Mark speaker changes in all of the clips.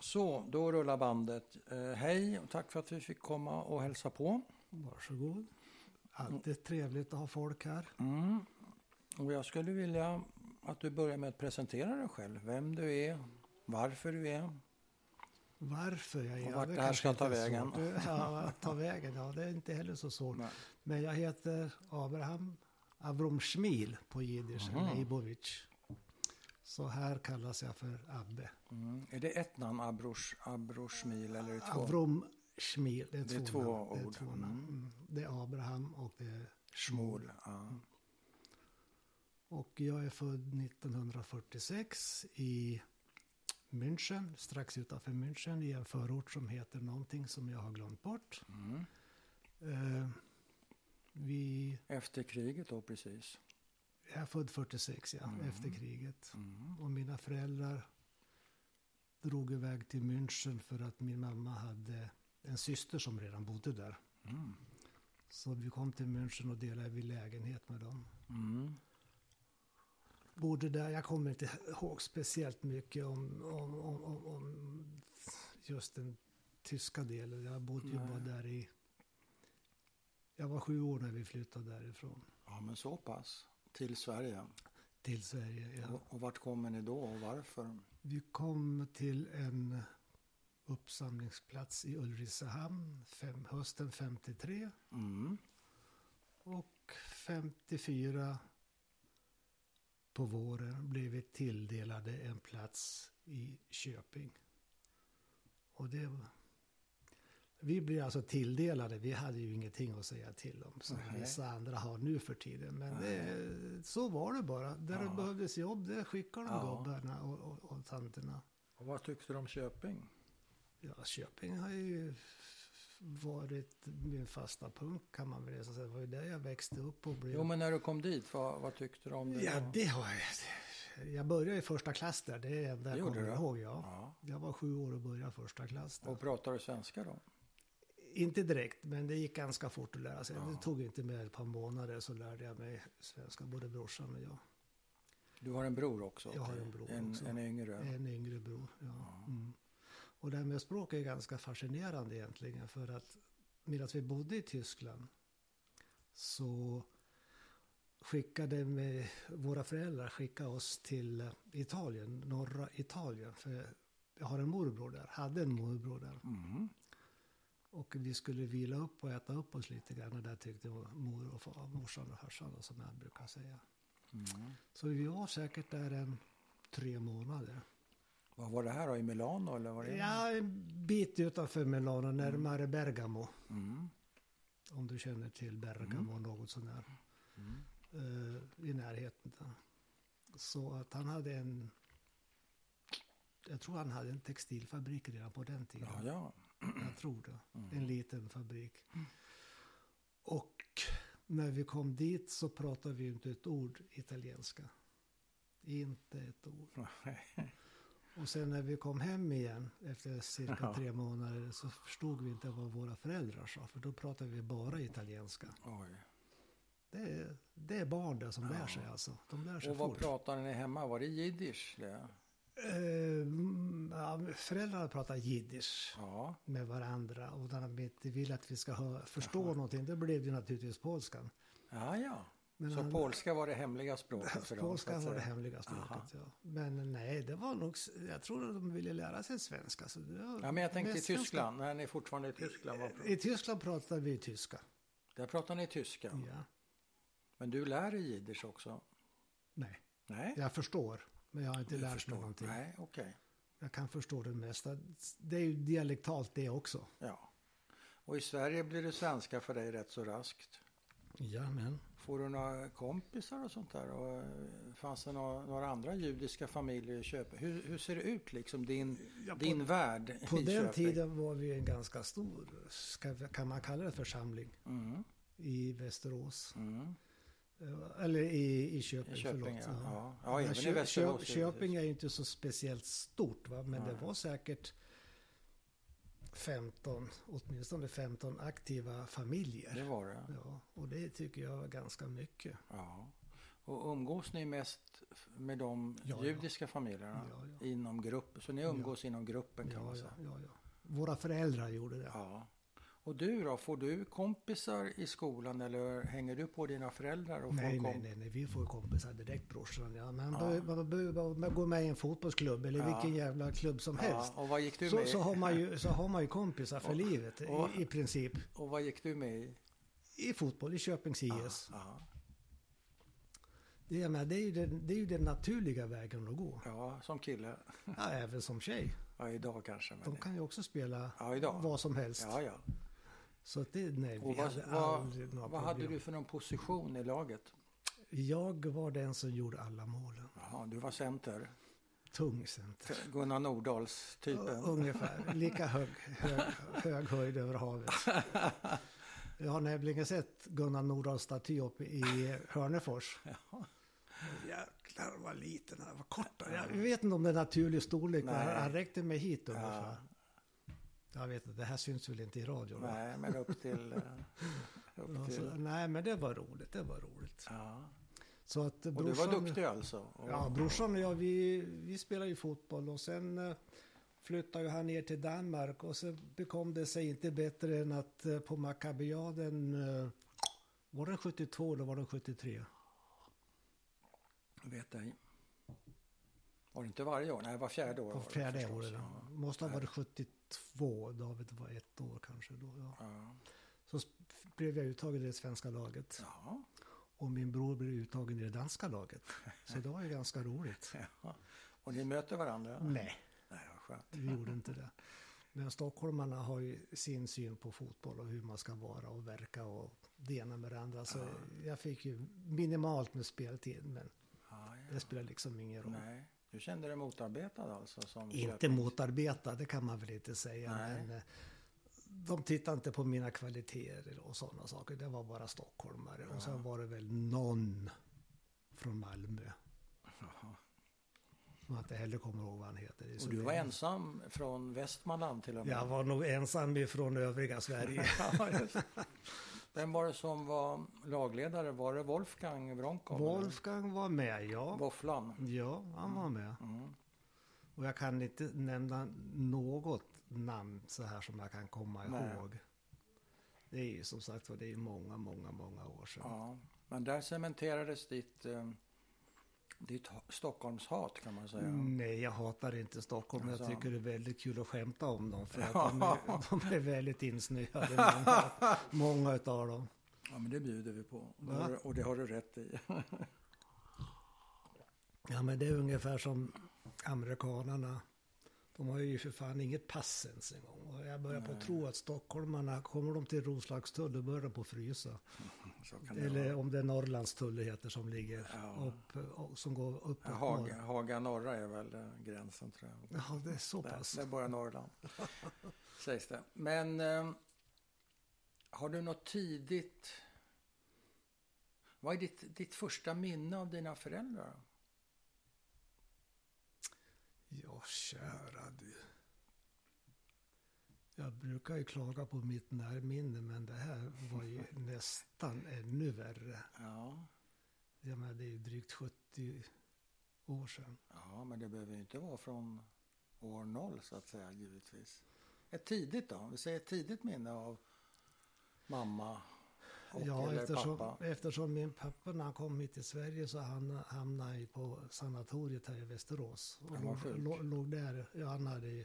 Speaker 1: Så, då rullar bandet. Eh, hej och tack för att vi fick komma och hälsa på.
Speaker 2: Varsågod. Alltid trevligt att ha folk här.
Speaker 1: Mm. Och jag skulle vilja att du börjar med att presentera dig själv. Vem du är, varför du är.
Speaker 2: Varför jag är
Speaker 1: Och vart
Speaker 2: det
Speaker 1: det här
Speaker 2: kanske
Speaker 1: ska
Speaker 2: inte
Speaker 1: ta
Speaker 2: är
Speaker 1: vägen.
Speaker 2: svårt. Ja, att ta vägen, ja det är inte heller så svårt.
Speaker 1: Nej.
Speaker 2: Men jag heter Abraham Avromshmil på jiddisch,
Speaker 1: Mhm.
Speaker 2: eller Leibovic. Så här kallas jag för Abbe.
Speaker 1: Mm. Är det ett namn, Abrosh, Abroshmil, eller är det två?
Speaker 2: Avromshmil, det är
Speaker 1: Det
Speaker 2: två,
Speaker 1: är två
Speaker 2: namn. Det är,
Speaker 1: ord.
Speaker 2: två namn. Mm. det är Abraham och det är
Speaker 1: Shmuel. Ja.
Speaker 2: Och jag är född 1946 i München, strax utanför München, i en förort som heter någonting som jag har glömt bort.
Speaker 1: Mm.
Speaker 2: Eh, vi
Speaker 1: Efter kriget då, precis.
Speaker 2: jag är född 46, ja, efter kriget.
Speaker 1: Mm.
Speaker 2: Och mina föräldrar drog iväg till München för att min mamma hade en syster som redan bodde där.
Speaker 1: Mm.
Speaker 2: Så vi kom till München och delade vi lägenhet med dem.
Speaker 1: Mm.
Speaker 2: bodde där. Jag kommer inte ihåg speciellt mycket om, om, om, om, om just den tyska delen. Jag bodde ju
Speaker 1: Nej.
Speaker 2: bara där i... Jag var sju år när vi flyttade därifrån
Speaker 1: Ja, men så pass. Till Sverige.
Speaker 2: till Sverige. Ja.
Speaker 1: Och, och vart kommer ni då och varför?
Speaker 2: Vi kom till en uppsamlingsplats i Ulricehamn fem, hösten 53
Speaker 1: Mm.
Speaker 2: och 54 på våren blev vi tilldelade en plats i Köping. Och det var... Vi blev alltså tilldelade, vi hade ju ingenting att säga till om som
Speaker 1: Nej.
Speaker 2: vissa andra har nu för tiden. Men det, så var det bara. Där
Speaker 1: Ja.
Speaker 2: det behövdes jobb, där skickade de
Speaker 1: Ja.
Speaker 2: gubbarna och, och, och tanterna.
Speaker 1: Och vad tyckte du om Köping?
Speaker 2: Ja, Köping har ju varit min fasta punkt kan man väl nästan säga. Det var ju där jag växte upp och blev...
Speaker 1: Jo, men när du kom dit, vad, vad tyckte du om det?
Speaker 2: Ja,
Speaker 1: då?
Speaker 2: det har jag. Jag började i första klass där, det är det enda
Speaker 1: Det
Speaker 2: jag
Speaker 1: gjorde
Speaker 2: kommer
Speaker 1: du?
Speaker 2: ihåg. Ja.
Speaker 1: Ja.
Speaker 2: Jag var sju år och började första klass där.
Speaker 1: Och pratar du svenska då?
Speaker 2: Inte direkt, men det gick ganska fort att lära sig.
Speaker 1: Ja.
Speaker 2: Det tog inte mer än ett par månader så lärde jag mig svenska, både brorsan och jag.
Speaker 1: Du har en bror också?
Speaker 2: Jag har en bror
Speaker 1: en,
Speaker 2: också. Eh.
Speaker 1: En yngre?
Speaker 2: En yngre bror. Ja. Mm. Och det här med språk är ganska fascinerande egentligen. För att medan vi bodde i Tyskland så skickade med, våra föräldrar skickade oss till eh, Italien, norra Italien. För jag har en morbror där, hade en morbror där.
Speaker 1: Mm.
Speaker 2: Och vi skulle vila upp och äta upp oss lite grann. Och där tyckte mor och far, morsan och farsan då, som jag brukar säga.
Speaker 1: Mm.
Speaker 2: Så vi var säkert där en tre månader.
Speaker 1: Vad var det här då? I Milano eller var det?
Speaker 2: Ja, en bit utanför Milano, närmare Bergamo.
Speaker 1: Mm.
Speaker 2: Om du känner till Bergamo något sånär. Mm. Eh, I närheten där. Så att han hade en... Jag tror han hade en textilfabrik redan på den tiden.
Speaker 1: Ja, ja. Mm.
Speaker 2: Jag tror det. En liten fabrik. Och när vi kom dit så pratade vi inte ett ord italienska. Inte ett ord. Och sen när vi kom hem igen efter cirka
Speaker 1: Ja.
Speaker 2: tre månader så förstod vi inte vad våra föräldrar sa. För då pratade vi bara italienska.
Speaker 1: Oj.
Speaker 2: Det är, det är barn där som
Speaker 1: Ja.
Speaker 2: lär sig alltså. De lär sig
Speaker 1: Och vad
Speaker 2: fort.
Speaker 1: pratade ni hemma? Var det jiddisch? det?
Speaker 2: Eh, mm, ja, föräldrarna pratar jiddisch
Speaker 1: Ja.
Speaker 2: med varandra. Och när de inte vill att vi ska hö- förstå någonting, då blev det ju naturligtvis polskan.
Speaker 1: Ja, ja.
Speaker 2: Men
Speaker 1: så
Speaker 2: han-
Speaker 1: polska var det hemliga språket för dem? så
Speaker 2: Polskan
Speaker 1: att
Speaker 2: var det
Speaker 1: säga.
Speaker 2: hemliga språket, ja. Men nej, det var nog... s- Jag tror att de ville lära sig svenska. Så det var
Speaker 1: Ja, men jag tänkte i
Speaker 2: mest svenska.
Speaker 1: Tyskland. När ni är fortfarande i Tyskland. Vad...
Speaker 2: I Tyskland pratar vi tyska.
Speaker 1: Där pratar ni tyska.
Speaker 2: Ja.
Speaker 1: Men du lär dig jiddisch också?
Speaker 2: Nej,
Speaker 1: Nej?
Speaker 2: jag förstår. Men jag har inte
Speaker 1: Du
Speaker 2: lärt
Speaker 1: förstår.
Speaker 2: mig någonting.
Speaker 1: Nej, okej.
Speaker 2: Jag kan förstå det mesta. Det är ju dialektalt det också.
Speaker 1: Ja. Och i Sverige blir det svenska för dig rätt så raskt.
Speaker 2: Ja, men.
Speaker 1: Får du några kompisar och sånt där? Och eh, fanns det några, några andra judiska familjer i Köping? Hur, hur ser det ut liksom, din,
Speaker 2: på-
Speaker 1: din värld
Speaker 2: På
Speaker 1: i
Speaker 2: den
Speaker 1: Köping?
Speaker 2: tiden var vi en ganska stor, ska, vi- kan man kalla det församling,
Speaker 1: Mm,
Speaker 2: i Västerås.
Speaker 1: mm.
Speaker 2: Eh, Eller i, i Köping,
Speaker 1: I Köping, ja.
Speaker 2: förlåt.
Speaker 1: Ja, ja även i
Speaker 2: Kö-
Speaker 1: Västerås,
Speaker 2: Kö- Köping är ju inte så speciellt stort, va? men det var säkert 15, åtminstone 15 aktiva familjer.
Speaker 1: Det var det.
Speaker 2: Ja, och det tycker jag var ganska mycket.
Speaker 1: Ja. Och umgås ni mest med de
Speaker 2: Ja, ja.
Speaker 1: judiska familjerna
Speaker 2: Ja, ja.
Speaker 1: inom grupp? Så ni umgås inom gruppen kan
Speaker 2: Ja,
Speaker 1: man
Speaker 2: ja,
Speaker 1: säga?
Speaker 2: ja, ja. Våra föräldrar gjorde det.
Speaker 1: Ja. Och du då, får du kompisar i skolan eller hänger du på dina föräldrar? Och
Speaker 2: Nej,
Speaker 1: får
Speaker 2: nej,
Speaker 1: kom-
Speaker 2: nej, nej, vi får kompisar direkt brorsan. Ja. Men han
Speaker 1: Ja.
Speaker 2: behöver man behöver bara gå med i en fotbollsklubb eller
Speaker 1: Ja.
Speaker 2: vilken jävla klubb som helst.
Speaker 1: Ja, och vad gick du
Speaker 2: Så,
Speaker 1: med
Speaker 2: så,
Speaker 1: i?
Speaker 2: har man ju, så har man ju kompisar för
Speaker 1: Och-
Speaker 2: livet i-
Speaker 1: och-
Speaker 2: i princip.
Speaker 1: Och vad gick du med i?
Speaker 2: I fotboll, i Köpings IS.
Speaker 1: Ja,
Speaker 2: Det, jag menar, det, är ju den, det är ju den naturliga vägen att gå.
Speaker 1: ja. ja, som kille.
Speaker 2: Ja, även som tjej.
Speaker 1: Ja, idag kanske. Men
Speaker 2: De kan ju också spela
Speaker 1: Ja, idag.
Speaker 2: vad som helst.
Speaker 1: Ja, ja.
Speaker 2: Så att det, nej, vi
Speaker 1: Och vad,
Speaker 2: hade
Speaker 1: vad,
Speaker 2: aldrig några
Speaker 1: vad hade
Speaker 2: problem.
Speaker 1: du för någon position i laget?
Speaker 2: Jag var den som gjorde alla målen.
Speaker 1: Jaha, du var center.
Speaker 2: Tung center.
Speaker 1: Gunnar Nordahls-typen.
Speaker 2: U- Ungefär, lika hög, hög, hög höjd över havet. Jag har nämligen sett Gunnar Nordahls staty uppe i Hörnefors. Jäklar vad liten han var, vad kort han Jag vet inte om det är naturlig storlek, men
Speaker 1: Nej.
Speaker 2: han han räckte mig hit ungefär. Jag vet inte, det här syns väl inte i radion? va?
Speaker 1: Nej, men upp till... eh, upp
Speaker 2: Alltså,
Speaker 1: till
Speaker 2: nej, men det var roligt, det var roligt.
Speaker 1: ja.
Speaker 2: Så att
Speaker 1: Och du var
Speaker 2: brorsan-
Speaker 1: duktig alltså? Och,
Speaker 2: Ja, brorsan och jag, vi, vi spelade ju fotboll och sen eh, flyttade ju han ner till Danmark och så bekom det sig inte bättre än att eh, på Maccabiaden, eh, var den 72 eller var den 73?
Speaker 1: Vet ej. Var det inte varje år? Nej, var fjärde år.
Speaker 2: På
Speaker 1: var det
Speaker 2: fjärde
Speaker 1: förstås.
Speaker 2: året.
Speaker 1: Ja.
Speaker 2: Måste ha varit 72, David var ett år kanske då. Ja.
Speaker 1: Ja.
Speaker 2: Så sp- blev jag uttagen i det svenska laget
Speaker 1: Ja.
Speaker 2: och min bror blev uttagen i det danska laget. Så det var ju ganska roligt.
Speaker 1: ja. Och ni möter varandra?
Speaker 2: Nej.
Speaker 1: Nej, vad skönt.
Speaker 2: Vi gjorde inte det. Men stockholmarna har ju sin syn på fotboll och hur man ska vara och verka och det ena med det andra. Så jag fick ju minimalt med speltid, men
Speaker 1: Ja, ja.
Speaker 2: det spelar liksom ingen roll.
Speaker 1: Nej. Du kände dig motarbetad alltså? Som
Speaker 2: Inte motarbeta, det kan man väl inte säga,
Speaker 1: Nej.
Speaker 2: men eh, de tittade inte på mina kvaliteter och sådana saker. Det var bara stockholmare. Och sen var det väl någon från Malmö,
Speaker 1: Jaha.
Speaker 2: som jag inte heller kommer ihåg vad han heter. Det är så
Speaker 1: Och du var
Speaker 2: länge.
Speaker 1: ensam från Västmanland till och med?
Speaker 2: Jag var nog ensam ifrån övriga Sverige.
Speaker 1: Ja, just det. Vem var det som var lagledare? Var det Wolfgang Bronkov?
Speaker 2: Wolfgang var med, ja.
Speaker 1: eller? Våfflan?
Speaker 2: Ja, han var med.
Speaker 1: Mm.
Speaker 2: Och jag kan inte nämna något namn så här som jag kan komma
Speaker 1: Nej.
Speaker 2: ihåg. Det är ju som sagt var, det är ju många, många, många år sedan.
Speaker 1: Ja. Men där cementerades ditt, eh, ditt ha- Stockholmshat kan man säga.
Speaker 2: Nej, jag hatar inte Stockholm. men Jag
Speaker 1: Alltså.
Speaker 2: tycker det är väldigt kul att skämta om dem. För att de, är, de är väldigt insnöade. många- Många utav dem.
Speaker 1: Ja, men det bjuder vi på. Det
Speaker 2: Va?
Speaker 1: har du, och det har du rätt i.
Speaker 2: Ja, men det är ungefär som amerikanarna. De har ju för fan inget pass ens en gång. Och jag börjar på att tro att stockholmarna, kommer de till Roslagstull, då börjar de på att frysa.
Speaker 1: Så kan det
Speaker 2: Eller
Speaker 1: vara.
Speaker 2: om det är Norrlandstull det heter som ligger
Speaker 1: Ja.
Speaker 2: upp, och som går upp
Speaker 1: Ja, Haga, Haga norra är väl eh, gränsen tror jag.
Speaker 2: Ja, det är så pass.
Speaker 1: Där, där börjar Norrland, sägs det. Men eh, har du något tidigt... Vad är ditt, ditt första minne av dina föräldrar?
Speaker 2: Ja, kära du. Jag brukar ju klaga på mitt närminne, men det här var ju nästan ännu värre.
Speaker 1: Ja,
Speaker 2: Jag menar, det är ju drygt 70 år sedan.
Speaker 1: ja men det behöver ju inte vara från år noll så att säga, givetvis. Ett tidigt då? Vi säger ett tidigt minne av mamma och
Speaker 2: Ja,
Speaker 1: eller
Speaker 2: eftersom,
Speaker 1: pappa.
Speaker 2: eftersom min pappa när han kom hit till Sverige så han, hamnade han ju på sanatoriet här i Västerås. Och
Speaker 1: Han var
Speaker 2: låg,
Speaker 1: sjuk.
Speaker 2: låg, låg där, ja, han hade ju,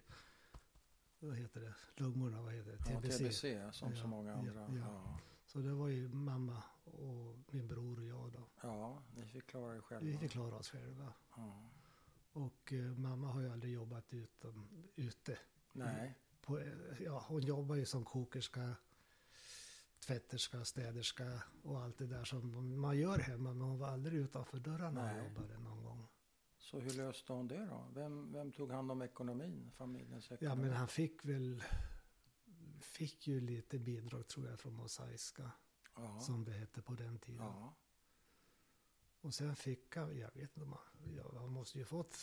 Speaker 2: vad heter det, lungorna, vad heter det,
Speaker 1: Ja,
Speaker 2: TBC.
Speaker 1: TBC, som så
Speaker 2: Ja,
Speaker 1: många
Speaker 2: ja,
Speaker 1: andra.
Speaker 2: ja.
Speaker 1: Ja,
Speaker 2: Så det var ju mamma och min bror och jag då.
Speaker 1: ja ni fick klara er
Speaker 2: Vi
Speaker 1: själva.
Speaker 2: fick klara oss själva.
Speaker 1: Ja.
Speaker 2: Och eh, mamma har ju aldrig jobbat utom, ute.
Speaker 1: Nej,
Speaker 2: På, eh, ja, hon jobbar ju som kokerska, tvätterska, städerska och allt det där som man gör hemma. Men hon var aldrig utanför dörrarna och
Speaker 1: Nej.
Speaker 2: jobbade någon gång.
Speaker 1: så hur löste hon det då? Vem, vem tog hand om ekonomin, familjens ekonomi?
Speaker 2: Ja, men han fick väl, fick ju lite bidrag tror jag från Mosaiska,
Speaker 1: Ja,
Speaker 2: som det hette på den tiden.
Speaker 1: ja.
Speaker 2: Och sen fick han, jag vet inte, om han- ja, han måste ju fått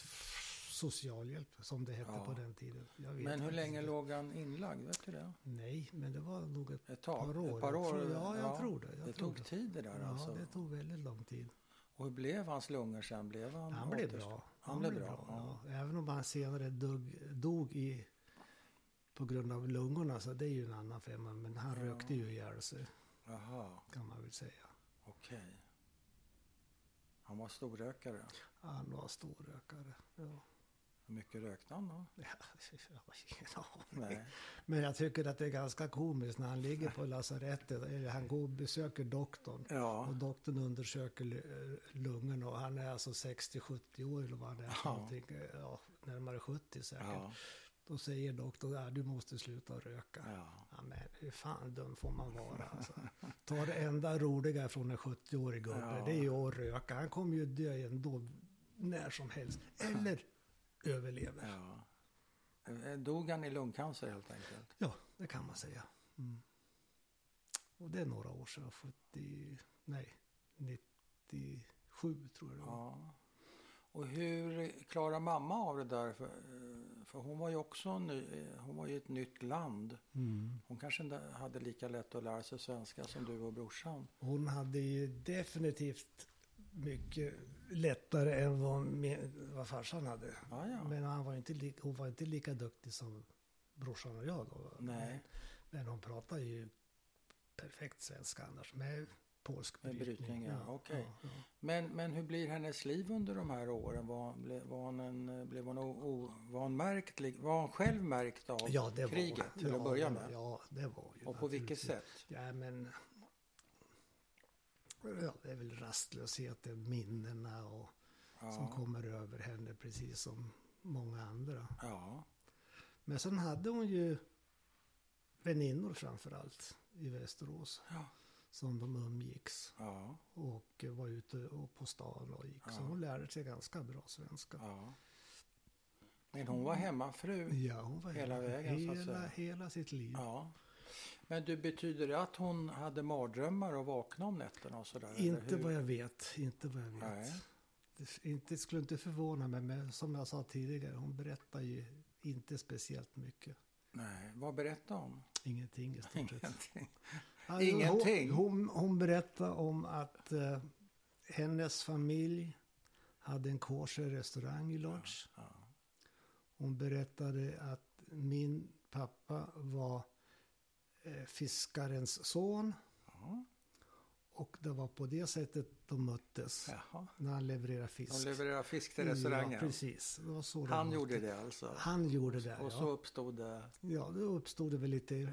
Speaker 2: socialhjälp som det hette
Speaker 1: Ja.
Speaker 2: på den tiden. Jag vet
Speaker 1: Men hur
Speaker 2: faktiskt
Speaker 1: länge
Speaker 2: inte.
Speaker 1: låg han inlagd? Vet du det?
Speaker 2: Nej, men det var nog ett
Speaker 1: Ett tag?
Speaker 2: par år.
Speaker 1: Ett par
Speaker 2: Jag
Speaker 1: år?
Speaker 2: tror- ja, jag tror det. Jag
Speaker 1: det
Speaker 2: tror
Speaker 1: tog tid det där
Speaker 2: Ja,
Speaker 1: alltså?
Speaker 2: det tog väldigt lång tid.
Speaker 1: Och hur blev hans lungor sen? Blev han,
Speaker 2: Han blev
Speaker 1: återställd?
Speaker 2: bra.
Speaker 1: Han blev bra,
Speaker 2: ja. Även om han senare dog, dog i, på grund av lungorna, så det är ju en annan femma. Men han
Speaker 1: Ja.
Speaker 2: rökte ju ihjäl sig,
Speaker 1: Jaha,
Speaker 2: kan man väl säga.
Speaker 1: okej. Han var storrökare.
Speaker 2: Han var storrökare. Ja.
Speaker 1: Hur mycket rökte han då?
Speaker 2: Ja, Jag har ingen aning.
Speaker 1: Nej.
Speaker 2: Men jag tycker att det är ganska komiskt när han ligger på lasarettet. eller Han går och besöker doktorn.
Speaker 1: Ja,
Speaker 2: Och doktorn undersöker lu- eh, lungorna och han är alltså 60-70 år eller vad han är.
Speaker 1: Ja.
Speaker 2: Ja. Ja, närmare 70 säkert.
Speaker 1: ja,
Speaker 2: Då säger doktorn att du måste sluta röka.
Speaker 1: ja.
Speaker 2: Ja, men hur fan dum får man vara alltså. Ta det enda roliga från en 70-årig gubbe,
Speaker 1: Ja.
Speaker 2: det är ju att röka. Han kommer ju dö ändå när som helst. Eller överlever.
Speaker 1: ja. Eh, Dog han i lungcancer helt enkelt?
Speaker 2: Ja, det kan man säga. Mm. Och det är några år sedan, 70, nej, 97 tror jag det var.
Speaker 1: Ja. Och hur klarar mamma av det där? För, eh, för hon var ju också ny, eh, hon var ju i ett nytt land.
Speaker 2: Mm.
Speaker 1: Hon kanske inte hade lika lätt att lära sig svenska som du och brorsan.
Speaker 2: Hon hade ju definitivt mycket lättare än vad, me- vad farsan hade.
Speaker 1: Ja, ja.
Speaker 2: Men han var inte li- hon var inte lika duktig som brorsan och jag. Då.
Speaker 1: Nej,
Speaker 2: Men hon pratar ju perfekt svenska annars med polsk
Speaker 1: Med
Speaker 2: brytning.
Speaker 1: brytning, ja. Okej.
Speaker 2: ja,
Speaker 1: men, men hur blir hennes liv under de här åren? Var, ble, var hon, en, eh, blev hon, o, o, var hon märkt, li- var hon själv märkt av
Speaker 2: ja. ja, det var
Speaker 1: kriget till
Speaker 2: ja,
Speaker 1: att börja
Speaker 2: det-
Speaker 1: med?
Speaker 2: Ja, det var ju.
Speaker 1: och på vilket
Speaker 2: naturligtvis.
Speaker 1: sätt?
Speaker 2: Ja, men... Ja, det är väl rastlösheten, minnena och,
Speaker 1: Ja.
Speaker 2: som kommer över henne precis som många andra.
Speaker 1: Ja,
Speaker 2: Men sen hade hon ju väninnor framför allt i Västerås
Speaker 1: Ja.
Speaker 2: som de umgicks
Speaker 1: ja,
Speaker 2: och var ute och på stan och gick. Så
Speaker 1: Ja.
Speaker 2: hon lärde sig ganska bra svenska.
Speaker 1: ja. Men hon var hemmafru.
Speaker 2: Ja, hon var
Speaker 1: Hela vägen, så
Speaker 2: hela,
Speaker 1: att säga.
Speaker 2: hela, hela sitt liv.
Speaker 1: Ja. Men du, betyder det att hon hade mardrömmar och vaknade om nätterna och sådär? eller
Speaker 2: Inte
Speaker 1: hur?
Speaker 2: vad jag vet, inte vad jag vet.
Speaker 1: Nej.
Speaker 2: Det, inte, det skulle inte förvåna mig, men som jag sa tidigare, hon berättar ju inte speciellt mycket.
Speaker 1: Nej, vad berättade hon?
Speaker 2: Ingenting i stort sett.
Speaker 1: Ingenting.
Speaker 2: Alltså,
Speaker 1: Ingenting.
Speaker 2: Hon, hon, hon berättade om att eh, hennes familj hade en kosher restaurang i Lodz.
Speaker 1: Ja.
Speaker 2: Hon berättade att min pappa var eh, fiskarens son
Speaker 1: Ja.
Speaker 2: och det var på det sättet de möttes
Speaker 1: Jaha.
Speaker 2: när han levererade fisk.
Speaker 1: De levererar fisk till restaurangen.
Speaker 2: Ja, precis. Det var så de
Speaker 1: Han
Speaker 2: möttes.
Speaker 1: gjorde det alltså.
Speaker 2: Han gjorde det,
Speaker 1: Och
Speaker 2: ja.
Speaker 1: så uppstod det.
Speaker 2: Ja, då uppstod det väl lite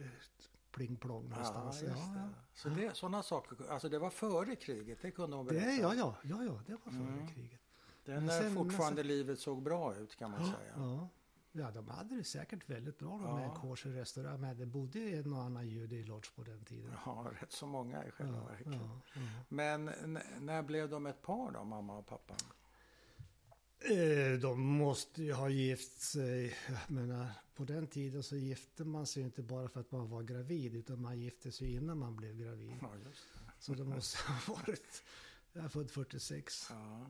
Speaker 2: plingplong
Speaker 1: Ja,
Speaker 2: någonstans.
Speaker 1: just det. Så det, sådana saker, alltså det var före kriget, det kunde hon
Speaker 2: Det,
Speaker 1: berätta.
Speaker 2: ja, ja, ja, ja, det var före
Speaker 1: Mm.
Speaker 2: kriget.
Speaker 1: Den
Speaker 2: Men
Speaker 1: när
Speaker 2: sen-
Speaker 1: fortfarande
Speaker 2: men
Speaker 1: livet såg bra ut kan man säga.
Speaker 2: Ja. ja, de hade det säkert väldigt bra de
Speaker 1: Ja.
Speaker 2: med en kosher restaurang. Men det bodde ju en och annan jude i Lodz på den tiden.
Speaker 1: Ja, rätt så många i själva
Speaker 2: ja,
Speaker 1: verket.
Speaker 2: ja, ja.
Speaker 1: Men n- när blev de ett par då, mamma och pappa?
Speaker 2: Eh, De måste ju ha gift sig. Jag menar, på den tiden så gifte man sig ju inte bara för att man var gravid utan man gifte sig ju innan man blev gravid.
Speaker 1: Ja, just det.
Speaker 2: Så det måste ha varit... Jag är född 46.
Speaker 1: Ja,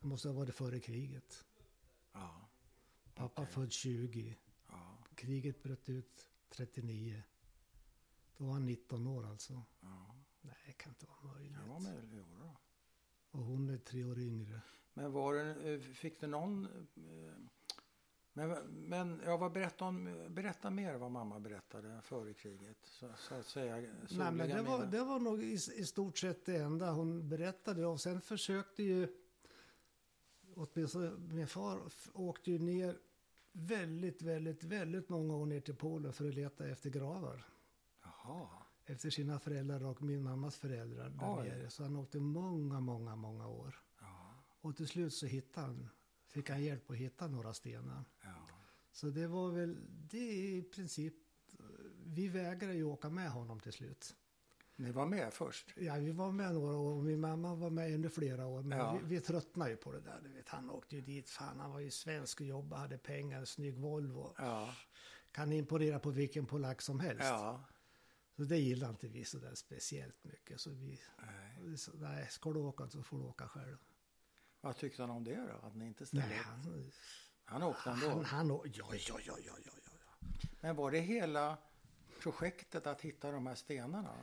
Speaker 2: Det måste ha varit före kriget.
Speaker 1: ja,
Speaker 2: Pappa född 20.
Speaker 1: ja,
Speaker 2: Kriget bröt ut 39. Då var han 19 år alltså.
Speaker 1: ja.
Speaker 2: Nej, det kan inte vara möjligt.
Speaker 1: Det var möjligt. jo då.
Speaker 2: Och hon är tre år yngre.
Speaker 1: Men var det, eh, fick du någon... eh, Men, men ja, vad berättade hon, berätta mer vad mamma berättade före kriget. Så, så att säga,
Speaker 2: Nej, men
Speaker 1: soliga
Speaker 2: det var,
Speaker 1: minnen.
Speaker 2: det var nog i, i stort sett det enda hon berättade om. Sen försökte ju... Åtminstone min far f- åkte ju ner väldigt, väldigt, väldigt många år ner till Polen för att leta efter gravar.
Speaker 1: Jaha.
Speaker 2: Efter sina föräldrar och min mammas föräldrar där
Speaker 1: Oj.
Speaker 2: nere. Så han åkte många, många, många år.
Speaker 1: Ja,
Speaker 2: Och till slut så hittade han, fick han hjälp att hitta några stenar.
Speaker 1: ja,
Speaker 2: Så det var väl, det är i princip, vi vägrade ju åka med honom till slut.
Speaker 1: Ni var med först?
Speaker 2: Ja, vi var med några år och min mamma var med under flera år. Men
Speaker 1: Ja.
Speaker 2: vi, vi tröttnade ju på det där. Du vet, han åkte ju dit, fan han var ju svensk och jobbade, hade pengar, snygg Volvo.
Speaker 1: Ja.
Speaker 2: Kan imponera på vilken polack som helst.
Speaker 1: ja.
Speaker 2: Så det gillade inte vi sådär speciellt mycket. Så vi,
Speaker 1: Nej.
Speaker 2: vi sa, nej ska du åka så får du åka själv.
Speaker 1: Vad tyckte han om det då? Att ni inte ställde
Speaker 2: Nej,
Speaker 1: upp?
Speaker 2: han,
Speaker 1: Han åkte ändå?
Speaker 2: han, han, å- ja, ja, ja, ja, ja, ja.
Speaker 1: Men var det hela projektet att hitta de här stenarna?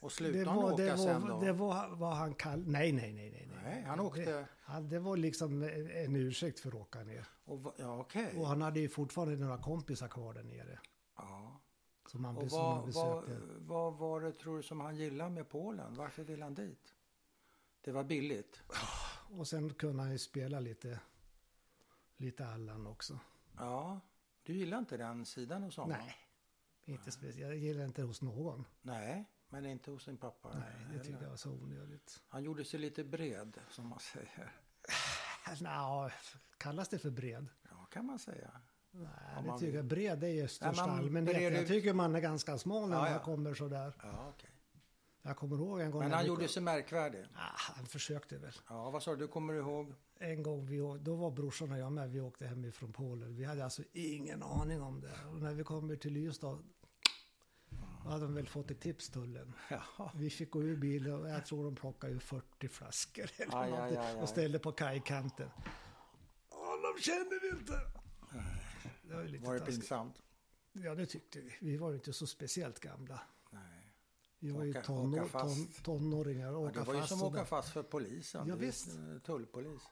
Speaker 1: Och slutade han åka
Speaker 2: det var,
Speaker 1: sen då?
Speaker 2: Det var vad han kallade... Nej, nej, nej, nej.
Speaker 1: Nej, han åkte...
Speaker 2: Det, han, det var liksom en- en ursäkt för att åka ner.
Speaker 1: Och, va- ja, okej.
Speaker 2: Och han hade ju fortfarande några kompisar kvar där nere.
Speaker 1: Ja.
Speaker 2: Som han,
Speaker 1: Och
Speaker 2: som han
Speaker 1: vad, vad,
Speaker 2: besökte.
Speaker 1: vad var det, tror du, som han gillade med Polen? Varför ville han dit? Det var billigt.
Speaker 2: Och sen kunde han ju spela lite, lite Allan också.
Speaker 1: Ja. Du gillar inte den sidan hos honom?
Speaker 2: Nej, inte speciellt. Jag gillar inte hos någon.
Speaker 1: Nej, men inte hos sin pappa?
Speaker 2: Nej, det
Speaker 1: heller.
Speaker 2: tyckte jag var så onödigt.
Speaker 1: Han gjorde sig lite bred, som man säger.
Speaker 2: Alltså, Nja, kallas det för bred?
Speaker 1: Ja, kan man säga.
Speaker 2: Nej,
Speaker 1: Om
Speaker 2: det
Speaker 1: man
Speaker 2: tycker jag. Bred är ju största
Speaker 1: man
Speaker 2: allmänhet.
Speaker 1: brer
Speaker 2: Jag
Speaker 1: ut-
Speaker 2: tycker man är ganska smal när
Speaker 1: Ja,
Speaker 2: man
Speaker 1: ja.
Speaker 2: kommer sådär.
Speaker 1: Ja, okej.
Speaker 2: Jag kommer ihåg en gång...
Speaker 1: Men
Speaker 2: när
Speaker 1: han
Speaker 2: vi-
Speaker 1: gjorde sig märkvärdig.
Speaker 2: Ah, han försökte väl.
Speaker 1: Ja, vad sa du? Du kommer ihåg?
Speaker 2: En gång, vi, å- då var brorsan och jag med, vi åkte hemifrån Polen. Vi hade alltså ingen aning om det. Och när vi kommer till Ystad, då hade de väl fått ett tips, tullen.
Speaker 1: Ja.
Speaker 2: Vi fick gå ur bilen och jag tror de plockade ur 40 flaskor eller
Speaker 1: Aj, aj,
Speaker 2: någonting
Speaker 1: aj, aj.
Speaker 2: och ställde på kajkanten. Honom känner vi inte! Det var ju lite
Speaker 1: Var det
Speaker 2: taskigt.
Speaker 1: pinsamt?
Speaker 2: Ja, det tyckte vi. Vi var ju inte så speciellt gamla.
Speaker 1: Nej.
Speaker 2: Vi var ju
Speaker 1: Åka-
Speaker 2: tonår,
Speaker 1: åka
Speaker 2: ton,
Speaker 1: fast.
Speaker 2: tonåringar och
Speaker 1: Ja,
Speaker 2: åka
Speaker 1: det var ju
Speaker 2: fast.
Speaker 1: som
Speaker 2: och
Speaker 1: att åka
Speaker 2: där.
Speaker 1: fast för polisen.
Speaker 2: Ja,
Speaker 1: Det är ju
Speaker 2: visst.
Speaker 1: en Tullpolis.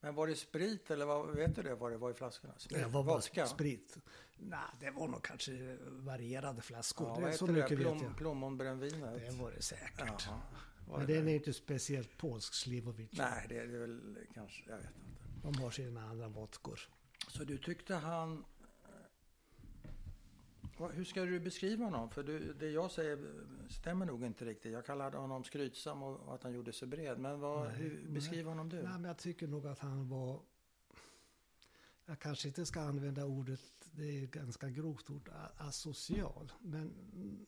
Speaker 1: Men var det sprit eller vad, vet du det, vad det var i flaskorna? Sprit?
Speaker 2: Det var bara
Speaker 1: Eh, Vodka?
Speaker 2: sprit. Nej, det var nog kanske varierade flaskor.
Speaker 1: Ja,
Speaker 2: det
Speaker 1: vad
Speaker 2: är
Speaker 1: heter det?
Speaker 2: så mycket
Speaker 1: Plom,
Speaker 2: vet jag.
Speaker 1: Plommonbrännvinet?
Speaker 2: Det var det säkert.
Speaker 1: Jaha. Var
Speaker 2: Men
Speaker 1: det
Speaker 2: den är ju inte speciellt polsk, Slivovic.
Speaker 1: Nej, det är det väl kanske. Jag vet inte.
Speaker 2: De har sina andra vodkor.
Speaker 1: Så du tyckte han... eh, Vad- Hur ska du beskriva honom? För du, det jag säger stämmer nog inte riktigt. Jag kallade honom skrytsam och och att han gjorde sig bred. Men vad,
Speaker 2: Nej,
Speaker 1: hur
Speaker 2: nej.
Speaker 1: beskriver honom du?
Speaker 2: Nej, men jag tycker nog att han var... Jag kanske inte ska använda ordet, det är ett ganska grovt ord, a- asocial. Men mm,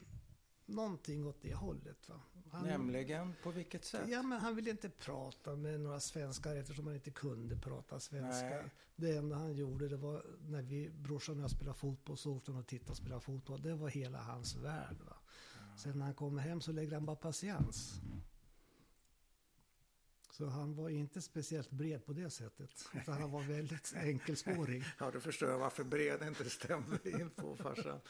Speaker 2: någonting åt det hållet. Va? Han,
Speaker 1: Nämligen, på vilket sätt?
Speaker 2: Ja, men han ville inte prata med några svenskar eftersom han inte kunde prata svenska.
Speaker 1: Nej.
Speaker 2: Det enda han gjorde det var när vi, brorsan och jag spelade fotboll så åkte han och tittade och spelade fotboll. Det var hela hans värld. Va? Sen när han kom hem så lägger han bara patiens. Så han var inte speciellt bred på det sättet. Utan han var väldigt enkelspårig.
Speaker 1: Ja, då förstår jag varför bred inte stämmer in på farsan.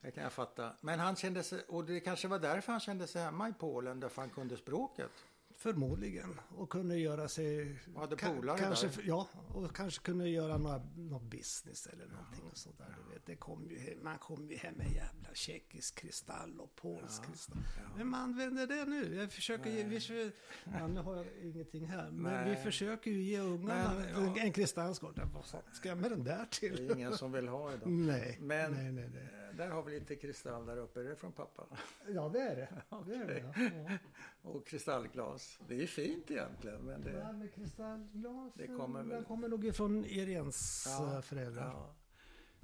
Speaker 1: Det kan jag fatta. Men han kände sig, och det kanske var därför han kände sig hemma i Polen, därför han kunde språket.
Speaker 2: Förmodligen. Och kunde göra sig...
Speaker 1: Och hade
Speaker 2: ka-
Speaker 1: polare
Speaker 2: kanske,
Speaker 1: där.
Speaker 2: Ja, och kanske kunde göra några, någon business eller någonting och sådär. Du vet, det kom ju, he- man kom ju hem med jävla tjeckisk kristall och polsk kristall. Vem använder det nu? Jag försöker ge... Vi, försöker- ja, nu har jag ingenting här. Men vi
Speaker 1: Nej.
Speaker 2: försöker ju ge ungarna
Speaker 1: Men,
Speaker 2: en, en kristallskål. Ja, Vad fan ska jag med den där
Speaker 1: Det
Speaker 2: till?
Speaker 1: är ingen som vill ha idag.
Speaker 2: Nej,
Speaker 1: Men-
Speaker 2: nej, nej, nej.
Speaker 1: Eh, Där har vi lite kristall där uppe, är det från pappa?
Speaker 2: Ja, det är det. Det är det, ja. ja.
Speaker 1: Och kristallglas. Det är ju fint egentligen, men det...
Speaker 2: Ja, med kristallglas.
Speaker 1: Det kommer väl-
Speaker 2: Den kommer nog ifrån Irens
Speaker 1: Ja,
Speaker 2: eh, föräldrar.
Speaker 1: Ja.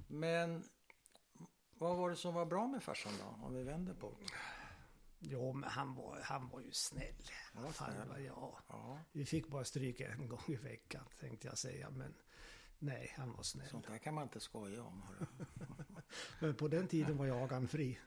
Speaker 1: Men vad var det som var bra med farsan då? Om vi vänder på det.
Speaker 2: Jo, men han var, han var ju snäll.
Speaker 1: Han var
Speaker 2: Fan,
Speaker 1: snäll.
Speaker 2: vad- ja.
Speaker 1: Ja,
Speaker 2: Vi fick bara stryka en gång i veckan tänkte jag säga. Men nej, han var snäll.
Speaker 1: sånt där kan man inte skoja om. hörru.
Speaker 2: Men på den tiden var jag aganfri.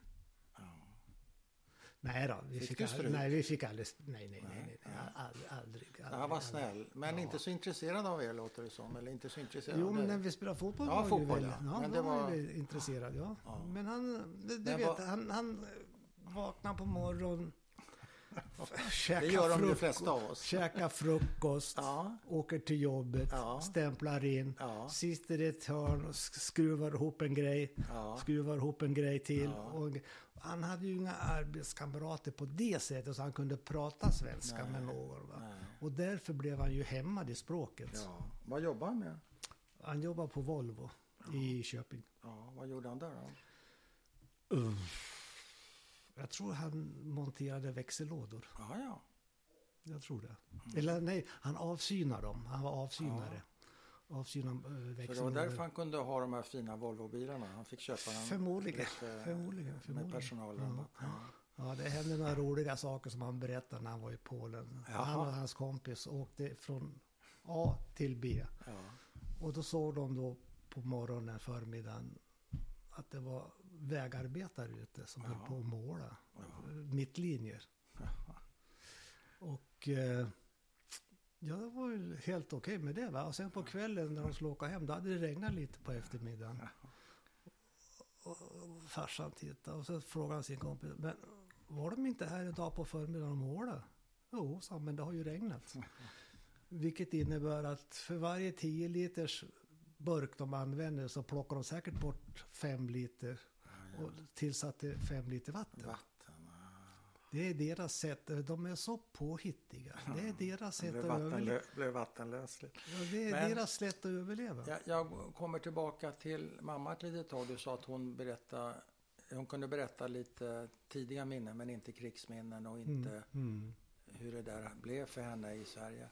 Speaker 2: Nej då, vi
Speaker 1: Fick
Speaker 2: fick,
Speaker 1: du
Speaker 2: aldrig,
Speaker 1: stryk?
Speaker 2: nej, vi fick aldrig, nej, nej, nej, nej, nej aldrig, aldrig, aldrig.
Speaker 1: Han var
Speaker 2: aldrig.
Speaker 1: snäll, men inte så intresserad av er låter det som. Eller inte så intresserad.
Speaker 2: Jo,
Speaker 1: av
Speaker 2: men
Speaker 1: dig.
Speaker 2: när vi spelade fotboll
Speaker 1: Ja,
Speaker 2: var han ju
Speaker 1: fotboll,
Speaker 2: väl,
Speaker 1: ja.
Speaker 2: ja,
Speaker 1: Men
Speaker 2: men
Speaker 1: det
Speaker 2: då var
Speaker 1: var-
Speaker 2: han ju väl intresserad. Ja. Men han, du, du
Speaker 1: Men
Speaker 2: vet,
Speaker 1: vad-
Speaker 2: han, han vaknade på morgonen, käkade
Speaker 1: Det gör de ju
Speaker 2: frukost.
Speaker 1: flesta av oss.
Speaker 2: Käka frukost,
Speaker 1: Ja.
Speaker 2: åker till jobbet,
Speaker 1: Ja.
Speaker 2: stämplar in,
Speaker 1: Ja.
Speaker 2: sitter i ett hörn och sk- skruvar ihop en grej,
Speaker 1: Ja.
Speaker 2: skruvar ihop en grej till. Och han hade ju inga arbetskamrater på det sättet så han kunde prata svenska med någon. Va? Och därför blev han ju hämmad i språket.
Speaker 1: Ja. Vad jobbar han med?
Speaker 2: Han jobbar på Volvo i Köping.
Speaker 1: Ja, vad gjorde han där då?
Speaker 2: Jag tror han monterade växellådor.
Speaker 1: Jaha, ja.
Speaker 2: Jag tror det.
Speaker 1: Mm.
Speaker 2: Eller nej, han avsynar dem. Han var avsynare. Avsynar eh,
Speaker 1: Så det var
Speaker 2: växellådor.
Speaker 1: därför han kunde ha de här fina Volvobilarna. Han fick köpa dem
Speaker 2: Förmodligen.
Speaker 1: lite, eh,
Speaker 2: Förmodligen,
Speaker 1: med
Speaker 2: förmodligen.
Speaker 1: personalrabatt. Ja.
Speaker 2: Ja, det hände några roliga saker som han berättade när han var i Polen.
Speaker 1: Jaha.
Speaker 2: Han och hans kompis åkte från A till B.
Speaker 1: Ja.
Speaker 2: Och då såg de då på morgonen, förmiddagen, att det var vägarbetare ute som höll på att måla eh, mittlinjer. Och eh, ja, det var ju helt okej med det. Va? Och sen på kvällen när de skulle åka hem, då hade det regnat lite på eftermiddagen. Och, och farsan tittade och så frågade han sin kompis, men var de inte här idag på förmiddagen om hålet? Jo, sa han, men det har ju regnat. Vilket innebär att för varje 10 liters burk de använder så plockar de säkert bort 5 liter och tillsatte 5 liter vatten.
Speaker 1: Vatten.
Speaker 2: Det är deras sätt, de är så påhittiga. Det är deras
Speaker 1: Det
Speaker 2: sätt
Speaker 1: blev,
Speaker 2: att överleva.
Speaker 1: vattenlö- blev vattenlösligt.
Speaker 2: Ja, det är
Speaker 1: Men-
Speaker 2: deras sätt att överleva.
Speaker 1: Jag, jag kommer tillbaka till mamma ett litet tag. Du sa att hon berättade hon kunde berätta lite tidiga minnen men inte krigsminnen och inte
Speaker 2: Mm.
Speaker 1: hur det där blev för henne i Sverige.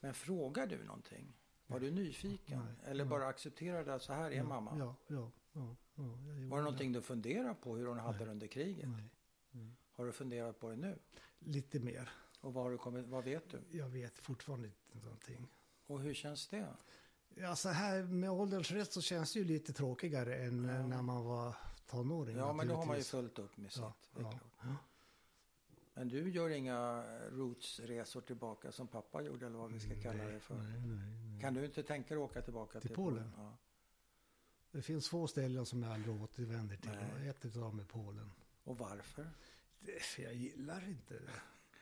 Speaker 1: Men frågar du någonting? Var du nyfiken?
Speaker 2: Nej.
Speaker 1: Eller bara accepterade att så här är
Speaker 2: Ja,
Speaker 1: mamma?
Speaker 2: Ja, ja, ja, ja, jag gjorde
Speaker 1: Var det någonting du funderade på hur hon hade det under kriget?
Speaker 2: Nej, Mm.
Speaker 1: Har du funderat på det nu?
Speaker 2: lite mer.
Speaker 1: Och vad, har du kommit, vad vet du?
Speaker 2: Jag vet fortfarande inte någonting.
Speaker 1: Och hur känns det?
Speaker 2: Ja, så här med ålderns rätt så känns det ju lite tråkigare än eh,
Speaker 1: Ja.
Speaker 2: när man var tonåring.
Speaker 1: Ja, men då har man ju
Speaker 2: naturligtvis.
Speaker 1: fullt upp med sitt.
Speaker 2: Ja,
Speaker 1: det är
Speaker 2: ja.
Speaker 1: klart. Men du gör inga rootsresor tillbaka som pappa gjorde eller vad vi ska kalla det för.
Speaker 2: Nej, nej, nej.
Speaker 1: Kan du inte tänka dig att åka tillbaka till,
Speaker 2: Till Polen?
Speaker 1: Ja.
Speaker 2: Det finns få ställen som jag aldrig återvänder till.
Speaker 1: Nej.
Speaker 2: Och Ett av dem är Polen.
Speaker 1: Och varför?
Speaker 2: Det, för jag gillar inte det.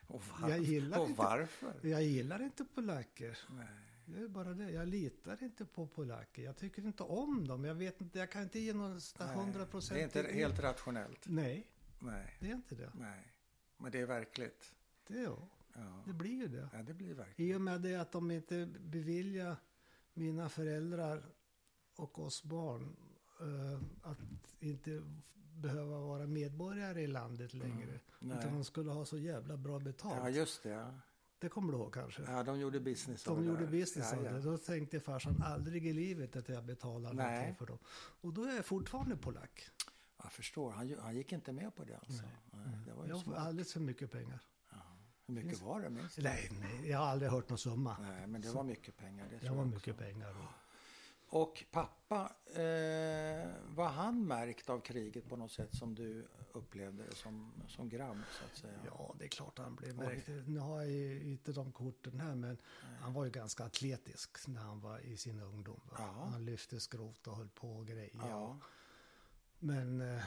Speaker 1: Och varför?
Speaker 2: Jag gillar
Speaker 1: och
Speaker 2: inte-
Speaker 1: varför?
Speaker 2: Jag gillar inte polacker.
Speaker 1: Nej.
Speaker 2: Det är bara det. Jag litar inte på polacker. Jag tycker inte om dem. Jag vet inte. Jag kan inte ge någon
Speaker 1: Nej.
Speaker 2: 100 procent.
Speaker 1: Det är inte helt rationellt.
Speaker 2: Nej,
Speaker 1: Nej.
Speaker 2: det är inte det.
Speaker 1: Nej. Men det är verkligt.
Speaker 2: Det, ja,
Speaker 1: Ja,
Speaker 2: det blir ju det.
Speaker 1: ja det blir verkligt.
Speaker 2: I och med det att de inte beviljar mina föräldrar och oss barn eh, att inte behöva vara medborgare i landet längre. Utan
Speaker 1: Mm. Nej.
Speaker 2: de skulle ha så jävla bra betalt.
Speaker 1: Ja, just det. ja.
Speaker 2: Det kommer du ihåg kanske?
Speaker 1: Ja, de gjorde business av
Speaker 2: De
Speaker 1: det
Speaker 2: gjorde
Speaker 1: där.
Speaker 2: business
Speaker 1: ja,
Speaker 2: av
Speaker 1: ja.
Speaker 2: det. Då tänkte farsan aldrig i livet att jag betalar
Speaker 1: Nej.
Speaker 2: någonting för dem. Och då är jag fortfarande polack.
Speaker 1: Jag förstår. Han, ju- han gick inte med på det alltså. Nej. Det var ju
Speaker 2: Jag får
Speaker 1: smart.
Speaker 2: alldeles för mycket pengar.
Speaker 1: Hur mycket var det minst?
Speaker 2: Nej, nej, jag har aldrig hört någon summa.
Speaker 1: Nej, men det var mycket pengar. Det
Speaker 2: det
Speaker 1: tror
Speaker 2: var
Speaker 1: jag
Speaker 2: mycket
Speaker 1: också.
Speaker 2: pengar. då.
Speaker 1: Och pappa, eh, var han märkt av kriget på något sätt som du upplevde det som, som grabb så att säga?
Speaker 2: Ja, det är klart han blev märkt. Nu har jag ju inte de korten här, men han var ju ganska atletisk när han var i sin ungdom. Va?
Speaker 1: Ja.
Speaker 2: Han lyfte skrot och höll på och grejer.
Speaker 1: Ja.
Speaker 2: Men eh,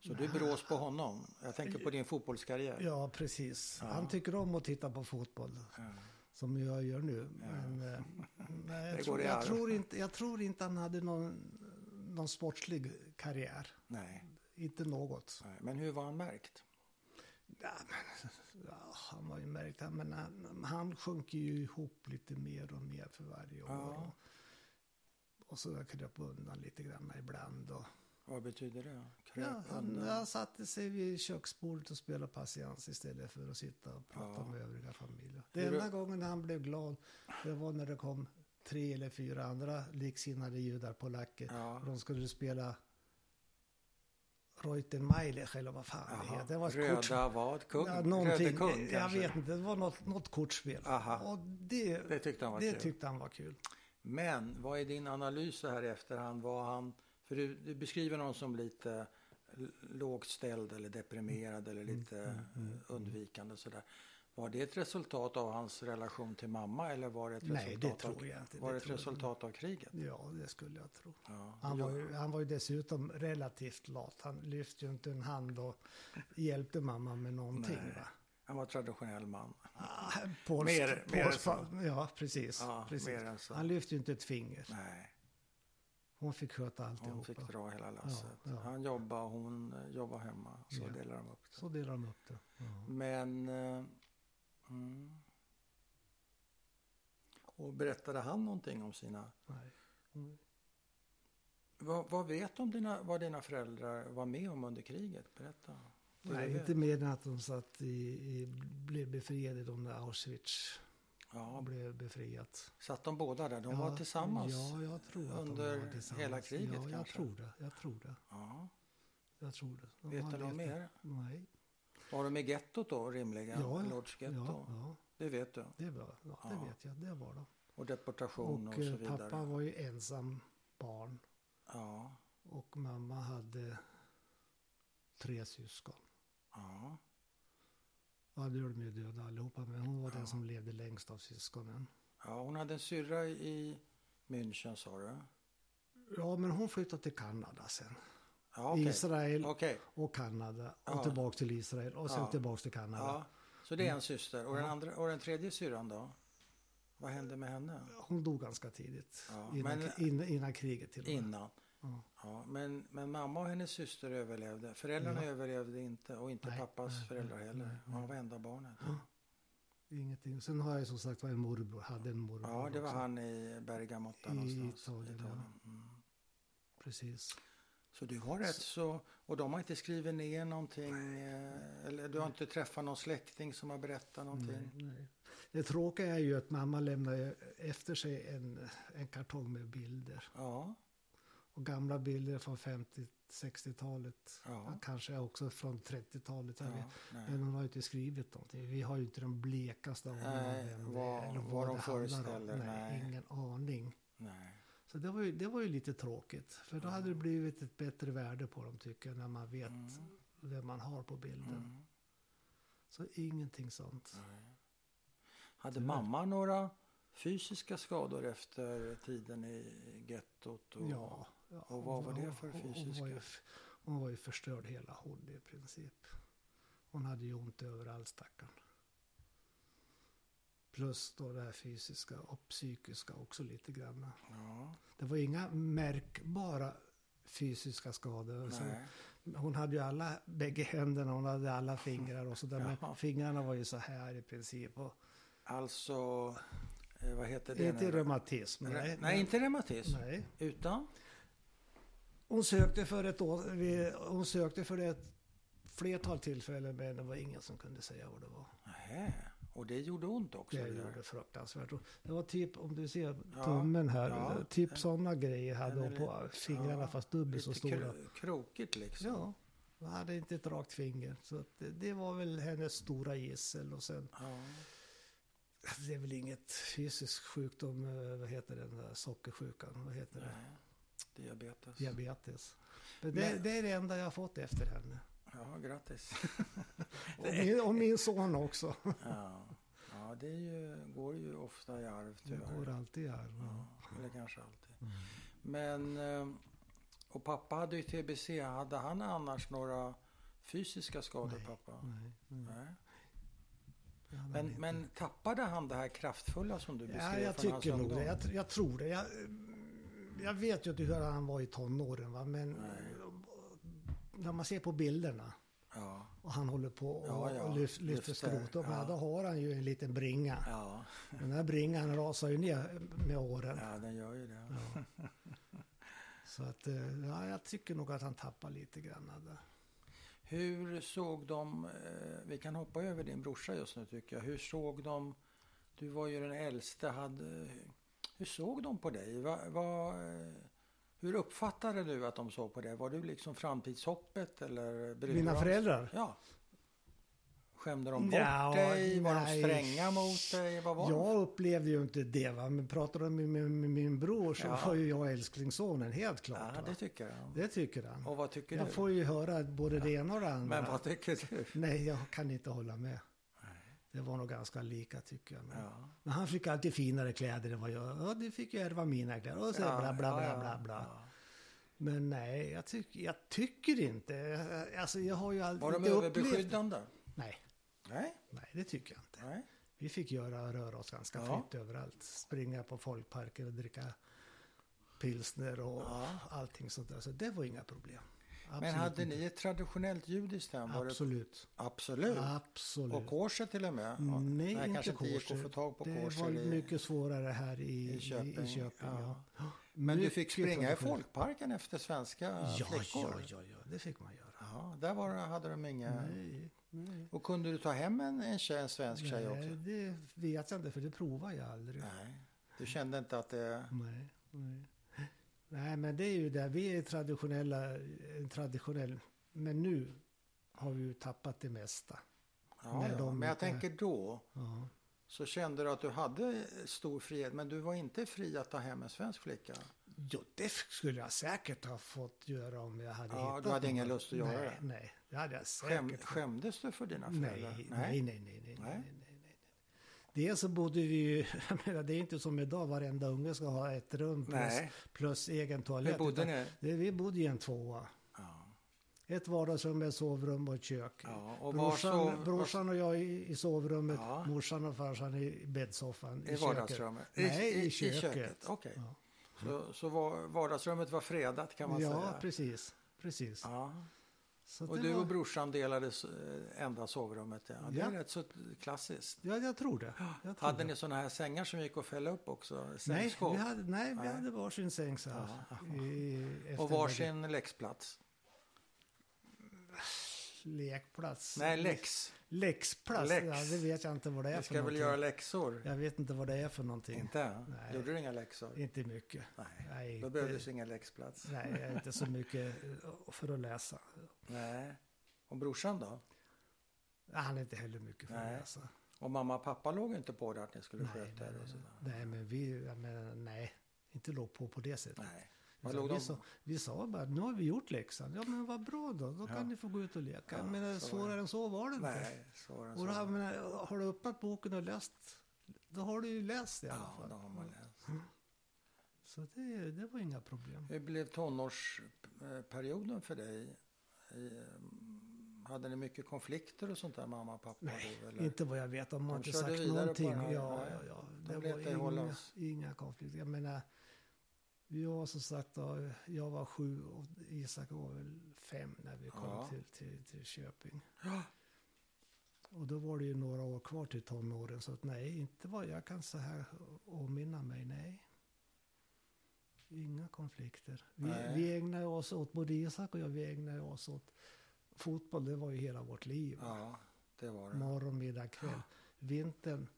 Speaker 1: Så du brås på honom? Jag tänker på din fotbollskarriär.
Speaker 2: ja, precis. Han tycker om att titta på fotboll. Som jag gör nu. Men, eh, nej,
Speaker 1: Det
Speaker 2: jag, tror,
Speaker 1: går i
Speaker 2: jag,
Speaker 1: arv.
Speaker 2: tror inte, jag tror inte han hade någon, någon sportslig karriär.
Speaker 1: Nej.
Speaker 2: Inte något.
Speaker 1: Nej. Men hur var han märkt?
Speaker 2: Ja, men, ja, han var ju märkt, men han, han sjönk ju ihop lite mer och mer för varje år.
Speaker 1: Ja.
Speaker 2: Och, och så kröp undan lite grann ibland. Och,
Speaker 1: Vad betyder det? Kröp
Speaker 2: ja, han,
Speaker 1: undan?
Speaker 2: han satte sig vid köksbordet och spelade patiens istället för att sitta och prata
Speaker 1: Ja.
Speaker 2: med övriga familjen. Det
Speaker 1: Hur-
Speaker 2: enda gången han blev glad, det var när det kom tre eller fyra andra liksinnade judar, polacker.
Speaker 1: Ja.
Speaker 2: De skulle spela Reutenmeilich eller vad fan det
Speaker 1: Jaha.
Speaker 2: heter. Det var ett kort
Speaker 1: Röda vad? Kung?
Speaker 2: Ja,
Speaker 1: Röde
Speaker 2: någonting.
Speaker 1: kung
Speaker 2: jag
Speaker 1: kanske?
Speaker 2: vet inte, det var något, något kortspel.
Speaker 1: Aha.
Speaker 2: Och det,
Speaker 1: Det tyckte han var
Speaker 2: det
Speaker 1: kul.
Speaker 2: tyckte han var kul.
Speaker 1: Men vad är din analys så här i efterhand? Var han, för du, du beskriver någon som lite l- lågt ställd eller deprimerad eller
Speaker 2: Mm.
Speaker 1: lite eh, undvikande sådär. Var det ett resultat av hans relation till mamma eller var det ett
Speaker 2: Nej, det
Speaker 1: resultat,
Speaker 2: tror
Speaker 1: av,
Speaker 2: jag inte.
Speaker 1: var det
Speaker 2: det
Speaker 1: ett
Speaker 2: tror jag.
Speaker 1: resultat av kriget?
Speaker 2: Ja, det skulle jag tro.
Speaker 1: Ja,
Speaker 2: Han
Speaker 1: det
Speaker 2: var,
Speaker 1: gör-
Speaker 2: ju, han var ju dessutom relativt lat. Han lyfte ju inte en hand och hjälpte mamma med någonting.
Speaker 1: Nej.
Speaker 2: Va?
Speaker 1: han var traditionell man.
Speaker 2: Ah, polsk,
Speaker 1: Mer- mer
Speaker 2: polsk,
Speaker 1: så.
Speaker 2: Ja, precis.
Speaker 1: Ja,
Speaker 2: precis.
Speaker 1: mer än så.
Speaker 2: Han lyfte ju inte ett finger.
Speaker 1: Nej,
Speaker 2: Hon fick sköta
Speaker 1: hon
Speaker 2: alltihopa.
Speaker 1: fick dra hela lasset.
Speaker 2: ja.
Speaker 1: Han jobbade, hon eh, jobbade hemma. Så
Speaker 2: Ja.
Speaker 1: delade de upp det.
Speaker 2: Så delade de upp det. Ja.
Speaker 1: Men... eh, Mm. Och berättade han någonting om sina...
Speaker 2: Nej. Mm.
Speaker 1: Vad, vad vet du om dina, vad dina föräldrar var med om under kriget? Berätta. Det är
Speaker 2: Nej,
Speaker 1: det.
Speaker 2: inte mer än att de satt i, i, blev befriade de där Auschwitz
Speaker 1: Ja,
Speaker 2: och blev befriat.
Speaker 1: satt de båda där? De var tillsammans?
Speaker 2: Ja, jag tror att
Speaker 1: under
Speaker 2: de var tillsammans.
Speaker 1: hela kriget
Speaker 2: ja, jag
Speaker 1: kanske?
Speaker 2: Tror det, jag tror det.
Speaker 1: Ja.
Speaker 2: Jag tror det. De
Speaker 1: Vet
Speaker 2: har
Speaker 1: du något
Speaker 2: levt-
Speaker 1: mer?
Speaker 2: Nej.
Speaker 1: Var de i gettot då rimligen?
Speaker 2: Ja,
Speaker 1: Lords
Speaker 2: Ja,
Speaker 1: getto?
Speaker 2: ja,
Speaker 1: Det vet du.
Speaker 2: det, var, ja, det
Speaker 1: Ja.
Speaker 2: vet jag. Det var de.
Speaker 1: Och deportation och,
Speaker 2: Och,
Speaker 1: så
Speaker 2: eh,
Speaker 1: vidare?
Speaker 2: pappa var ju ensam barn
Speaker 1: Ja.
Speaker 2: och mamma hade tre syskon.
Speaker 1: ja.
Speaker 2: Ja, nu är de ju döda allihopa, men hon var
Speaker 1: Ja.
Speaker 2: den som levde längst av syskonen.
Speaker 1: Ja, hon hade en syrra i München sa du?
Speaker 2: Ja, men hon flyttade till Kanada sen.
Speaker 1: Ja, okej.
Speaker 2: Israel
Speaker 1: Okej.
Speaker 2: och Kanada och
Speaker 1: Ja.
Speaker 2: tillbaks till Israel och sen
Speaker 1: Ja.
Speaker 2: tillbaks till Kanada.
Speaker 1: Ja. Så
Speaker 2: Mm.
Speaker 1: det är en syster. Och den, andra, och den tredje syrran då? Vad hände med henne?
Speaker 2: Hon dog ganska tidigt,
Speaker 1: Ja,
Speaker 2: innan,
Speaker 1: men-
Speaker 2: innan, innan kriget till och med.
Speaker 1: Innan.
Speaker 2: Ja.
Speaker 1: Ja, men, men mamma och hennes syster överlevde. Föräldrarna överlevde inte och inte
Speaker 2: Nej,
Speaker 1: pappas
Speaker 2: nej,
Speaker 1: föräldrar
Speaker 2: nej,
Speaker 1: heller.
Speaker 2: nej, Mm.
Speaker 1: Han var enda barnet.
Speaker 2: Ingenting. Sen har jag som sagt var en morbror, hade en morbror
Speaker 1: Ja, det var
Speaker 2: också.
Speaker 1: han i Bergamo där
Speaker 2: I
Speaker 1: någonstans.
Speaker 2: Italien, ja.
Speaker 1: Mm.
Speaker 2: Precis.
Speaker 1: Så du har rätt så, och de har inte skrivit ner någonting, eh, eller du har inte träffat någon släkting som har berättat någonting?
Speaker 2: Nej, Mm, nej. Det tråkiga är ju att mamma lämnade efter sig en, en kartong med bilder.
Speaker 1: Ja,
Speaker 2: Och gamla bilder från 50-60-talet.
Speaker 1: ja.
Speaker 2: Kanske också från 30-talet. jag vet.
Speaker 1: ja nej.
Speaker 2: Men hon har ju inte skrivit någonting. Vi har ju inte den blekaste aning om
Speaker 1: Nej,
Speaker 2: vem det
Speaker 1: vad- vad de
Speaker 2: är. det handlar om.
Speaker 1: föreställer, nej.
Speaker 2: Nej, ingen aning.
Speaker 1: nej.
Speaker 2: Så det var, ju, det var ju lite tråkigt. För då hade det blivit ett bättre värde på dem tycker jag. När man vet
Speaker 1: Mm.
Speaker 2: vem man har på bilden.
Speaker 1: Mm.
Speaker 2: Så ingenting sånt.
Speaker 1: nej. Hade mamma några fysiska skador efter tiden i gettot? Och,
Speaker 2: Ja. ja
Speaker 1: Mm, Och vad var
Speaker 2: hon-
Speaker 1: det för
Speaker 2: hon- Hon
Speaker 1: fysiska?
Speaker 2: var, ju, f- hon var ju förstörd hela hon i princip. Hon hade ju ont överallt stackarn. Plus då det här fysiska och psykiska också lite grann.
Speaker 1: Ja,
Speaker 2: Det var inga märkbara fysiska skador. Alltså, Så
Speaker 1: nej.
Speaker 2: hon hade ju alla, bägge händerna, hon hade
Speaker 1: Mm.
Speaker 2: alla fingrar och sådär.
Speaker 1: Jaha.
Speaker 2: Men fingrarna var ju så här i princip. Och,
Speaker 1: Alltså, eh, vad heter det
Speaker 2: inte
Speaker 1: nu?
Speaker 2: reumatism.
Speaker 1: Nej, nej,
Speaker 2: men-
Speaker 1: inte reumatism.
Speaker 2: nej.
Speaker 1: Utan?
Speaker 2: Hon sökte för ett år, vi- hon sökte för ett flertal tillfällen men det var ingen som kunde säga vad det var.
Speaker 1: Nähä. Och det gjorde ont också?
Speaker 2: Det
Speaker 1: det där?
Speaker 2: gjorde fruktansvärt. Och Det var typ, om du ser
Speaker 1: Ja,
Speaker 2: tummen här,
Speaker 1: ja.
Speaker 2: typ sådana grejer hade
Speaker 1: Den är
Speaker 2: hon på fingrarna
Speaker 1: ja,
Speaker 2: fast dubbelt så
Speaker 1: Lite
Speaker 2: stora.
Speaker 1: kro- krokigt liksom?
Speaker 2: Ja, hon hade inte ett rakt finger. Så att det, det var väl hennes stora gissel och sen,
Speaker 1: Ja.
Speaker 2: Alltså, det är väl inget fysisk sjukdom, eh, vad heter den där sockersjukan, vad heter det?
Speaker 1: Nej, diabetes.
Speaker 2: Diabetes. Men det,
Speaker 1: Men-
Speaker 2: det är det enda jag har fått efter henne.
Speaker 1: Ja, grattis.
Speaker 2: Och min, och min son också.
Speaker 1: ja. ja, det är ju, går ju ofta i arv
Speaker 2: Det
Speaker 1: tyvärr.
Speaker 2: går alltid i arv.
Speaker 1: ja, eller kanske alltid.
Speaker 2: Mm.
Speaker 1: Men, eh, och pappa hade ju tbc. Hade han annars några fysiska skador,
Speaker 2: Nej,
Speaker 1: pappa?
Speaker 2: Nej, nej.
Speaker 1: Nej.
Speaker 2: det hade han
Speaker 1: Men,
Speaker 2: inte.
Speaker 1: men tappade han det här kraftfulla som du beskrev
Speaker 2: ja, jag
Speaker 1: från hans
Speaker 2: tycker nog
Speaker 1: ungdom?
Speaker 2: det. Jag, tr- jag tror det. Jag, jag vet ju inte hur han var i tonåren, va? men
Speaker 1: Nej.
Speaker 2: när man ser på bilderna
Speaker 1: Ja,
Speaker 2: och han håller på och,
Speaker 1: Ja, ja,
Speaker 2: och lyf, lyfter
Speaker 1: lyfter,
Speaker 2: skrot. Och
Speaker 1: ja.
Speaker 2: Då har han ju en liten bringa.
Speaker 1: ja,
Speaker 2: Den här bringan rasar ju ner med åren.
Speaker 1: ja, den gör ju det.
Speaker 2: Så att, eh, ja, jag tycker nog att han tappar lite grann. Där.
Speaker 1: Hur såg de, eh, vi kan hoppa över din brorsa just nu tycker jag. Hur såg de, du var ju den äldste, hade, hur såg de på dig? Va, va, eh, hur uppfattade du att de såg på dig? Var du liksom framtidshoppet eller brydde
Speaker 2: Mina
Speaker 1: de-
Speaker 2: föräldrar?
Speaker 1: Ja. Skämde de bort
Speaker 2: Ja,
Speaker 1: dig? Var
Speaker 2: nej.
Speaker 1: de stränga mot dig? Vad var de?
Speaker 2: Jag upplevde ju inte det, va? men pratade med, med, med min bror så
Speaker 1: Ja.
Speaker 2: var ju jag älsklingssonen, helt klart.
Speaker 1: Ja, det
Speaker 2: va?
Speaker 1: tycker jag.
Speaker 2: det tycker han.
Speaker 1: Och vad tycker
Speaker 2: jag
Speaker 1: du?
Speaker 2: får ju höra både det ena och det andra.
Speaker 1: Men vad tycker du?
Speaker 2: Nej, jag kan inte hålla med. Det var nog ganska lika tycker jag. Men,
Speaker 1: Ja.
Speaker 2: men han fick alltid finare kläder än vad jag... Ja, du fick ju ärva mina kläder. Och så
Speaker 1: Ja,
Speaker 2: bla, bla,
Speaker 1: ja,
Speaker 2: bla,
Speaker 1: ja.
Speaker 2: bla, bla.
Speaker 1: Ja.
Speaker 2: Men nej, jag, tyck, jag tycker inte... Jag- Alltså, jag har ju aldrig
Speaker 1: Var de
Speaker 2: inte
Speaker 1: överbeskyddande?
Speaker 2: Nej,
Speaker 1: Nej,
Speaker 2: nej, det tycker jag inte.
Speaker 1: nej.
Speaker 2: Vi fick göra röra oss ganska
Speaker 1: Ja.
Speaker 2: fritt överallt. Springa på folkparker och dricka pilsner och allting sånt där. Så det var inga problem.
Speaker 1: Men
Speaker 2: Absolut
Speaker 1: hade
Speaker 2: inte.
Speaker 1: ni ett traditionellt judiskt hem? Var det
Speaker 2: Absolut.
Speaker 1: Absolut.
Speaker 2: Absolut. Mm,
Speaker 1: Och korset till och med. Ja.
Speaker 2: Nej,
Speaker 1: det
Speaker 2: inte
Speaker 1: kanske inte gick
Speaker 2: korset.
Speaker 1: att få tag på
Speaker 2: det
Speaker 1: korset.
Speaker 2: var
Speaker 1: i-
Speaker 2: mycket svårare här i,
Speaker 1: i
Speaker 2: i Köping.
Speaker 1: Köping,
Speaker 2: I, Köping
Speaker 1: ja.
Speaker 2: ja.
Speaker 1: Men du
Speaker 2: Mycket
Speaker 1: fick springa i
Speaker 2: traditionellt.
Speaker 1: folkparken efter svenska
Speaker 2: Ja, ja,
Speaker 1: flickor?
Speaker 2: ja, ja, det fick man göra.
Speaker 1: Ja, där var, det- hade de inga...
Speaker 2: Nej, nej.
Speaker 1: Och kunde du ta hem en, en, tjej, en svensk tjej
Speaker 2: Nej,
Speaker 1: också?
Speaker 2: det vet jag inte för det provade jag aldrig.
Speaker 1: Nej. Du kände inte att det...
Speaker 2: Nej, nej. Nej, men det är ju där vi är traditionella, en traditionell, men nu har vi ju tappat det mesta.
Speaker 1: Ja,
Speaker 2: Nej,
Speaker 1: ja.
Speaker 2: de
Speaker 1: Men jag
Speaker 2: inte-
Speaker 1: tänker då
Speaker 2: Ja.
Speaker 1: så kände du att du hade stor frihet men du var inte fri att ta hem en svensk flicka?
Speaker 2: Jo, det f- skulle jag säkert ha fått göra om jag hade
Speaker 1: Ja, du
Speaker 2: hittat
Speaker 1: hade ingen
Speaker 2: någon.
Speaker 1: lust att göra
Speaker 2: nej,
Speaker 1: det.
Speaker 2: Nej, det hade jag säkert.
Speaker 1: Skäm, skämdes du för dina föräldrar?
Speaker 2: Nej, nej, nej, nej, nej, nej,
Speaker 1: Nej.
Speaker 2: nej, nej, nej. Dels så bodde vi ju, jag menar det är inte som idag varenda unge ska ha ett rum plus,
Speaker 1: Nej.
Speaker 2: plus egen toalett.
Speaker 1: Hur bodde
Speaker 2: utan
Speaker 1: ni?
Speaker 2: det- Vi bodde i en tvåa.
Speaker 1: Ja.
Speaker 2: Ett vardagsrum med sovrum och ett kök.
Speaker 1: Ja, och var
Speaker 2: brorsan,
Speaker 1: sov...
Speaker 2: brorsan och jag i, i sovrummet,
Speaker 1: Ja.
Speaker 2: morsan och farsan i bäddsoffan.
Speaker 1: I vardagsrummet?
Speaker 2: Nej, i
Speaker 1: I
Speaker 2: köket.
Speaker 1: köket. Okej.
Speaker 2: Ja.
Speaker 1: Så, så var, vardagsrummet var fredat kan man
Speaker 2: ja,
Speaker 1: säga?
Speaker 2: precis. precis.
Speaker 1: Ja,
Speaker 2: Så
Speaker 1: Och
Speaker 2: det
Speaker 1: du
Speaker 2: var-
Speaker 1: och brorsan delade s- eh, enda sovrummet. Ja. Det är
Speaker 2: Ja.
Speaker 1: rätt så klassiskt.
Speaker 2: Ja, jag tror det. Jag tror
Speaker 1: Hade
Speaker 2: det.
Speaker 1: ni sådana här sängar som gick att fälla upp också?
Speaker 2: Nej,
Speaker 1: Sängskåp?
Speaker 2: vi hade, nej, vi
Speaker 1: Nej.
Speaker 2: hade varsin säng så här. I, i-
Speaker 1: och
Speaker 2: efter
Speaker 1: varsin läxplats?
Speaker 2: Lekplats.
Speaker 1: Nej, läx.
Speaker 2: Läxplats,
Speaker 1: Läx.
Speaker 2: ja, det vet jag inte vad det
Speaker 1: Vi
Speaker 2: är för
Speaker 1: ska väl
Speaker 2: någonting.
Speaker 1: göra läxor?
Speaker 2: Jag vet inte vad det är för någonting. Inte,
Speaker 1: Inte?
Speaker 2: Nej.
Speaker 1: Gjorde du inga läxor?
Speaker 2: mycket.
Speaker 1: Nej.
Speaker 2: Nej,
Speaker 1: Då
Speaker 2: inte-
Speaker 1: behövdes ingen läxplats.
Speaker 2: Nej, jag är inte så mycket eh, för att läsa.
Speaker 1: Nej. Och brorsan då?
Speaker 2: Han är inte heller mycket för alltså.
Speaker 1: Nej.
Speaker 2: att läsa.
Speaker 1: Och mamma och pappa låg inte på det att ni skulle
Speaker 2: Nej,
Speaker 1: sköta
Speaker 2: nej,
Speaker 1: er och
Speaker 2: nej.
Speaker 1: sådär?
Speaker 2: Nej, men vi, jag menar, nej, inte låg på på det sättet.
Speaker 1: Nej. Vad
Speaker 2: Utan
Speaker 1: låg de
Speaker 2: Vi sa, vi sa bara, nu har vi gjort läxan. Ja, men vad bra då. Då
Speaker 1: Ja.
Speaker 2: kan ni få gå ut och leka.
Speaker 1: Ja,
Speaker 2: Jag menar,
Speaker 1: så var
Speaker 2: svårare än så var det inte.
Speaker 1: Nej, svårare än
Speaker 2: Och då,
Speaker 1: så.
Speaker 2: har- menar, har du öppnat boken och läst, då har du ju läst i alla
Speaker 1: Ja,
Speaker 2: fall.
Speaker 1: då har man läst.
Speaker 2: Så det, det var inga problem.
Speaker 1: Hur blev tonårsperioden för dig? I, mm, Hade ni mycket konflikter och sånt där, mamma och pappa?
Speaker 2: Nej,
Speaker 1: då, eller?
Speaker 2: Inte vad jag vet, de har
Speaker 1: De
Speaker 2: inte
Speaker 1: körde
Speaker 2: sagt
Speaker 1: vidare på
Speaker 2: någonting.
Speaker 1: den här,
Speaker 2: ja,
Speaker 1: nej.
Speaker 2: ja, ja.
Speaker 1: De
Speaker 2: Det
Speaker 1: lät dig
Speaker 2: var
Speaker 1: hålla
Speaker 2: inga,
Speaker 1: oss.
Speaker 2: inga konflikter. Jag menar, jag som sagt då, jag var sju och Isak var väl fem när vi kom
Speaker 1: Ja.
Speaker 2: till, till, till Köping.
Speaker 1: Ja.
Speaker 2: Och då var det ju några år kvar till tonåren så att nej, inte vad jag kan så här åminna mig, nej. Inga konflikter. Vi,
Speaker 1: Nej.
Speaker 2: vi ägnade oss åt, både Isak och jag, vi ägnade oss åt fotboll, det var ju hela vårt liv.
Speaker 1: ja, det var det.
Speaker 2: morgon, middag, kväll. Vintern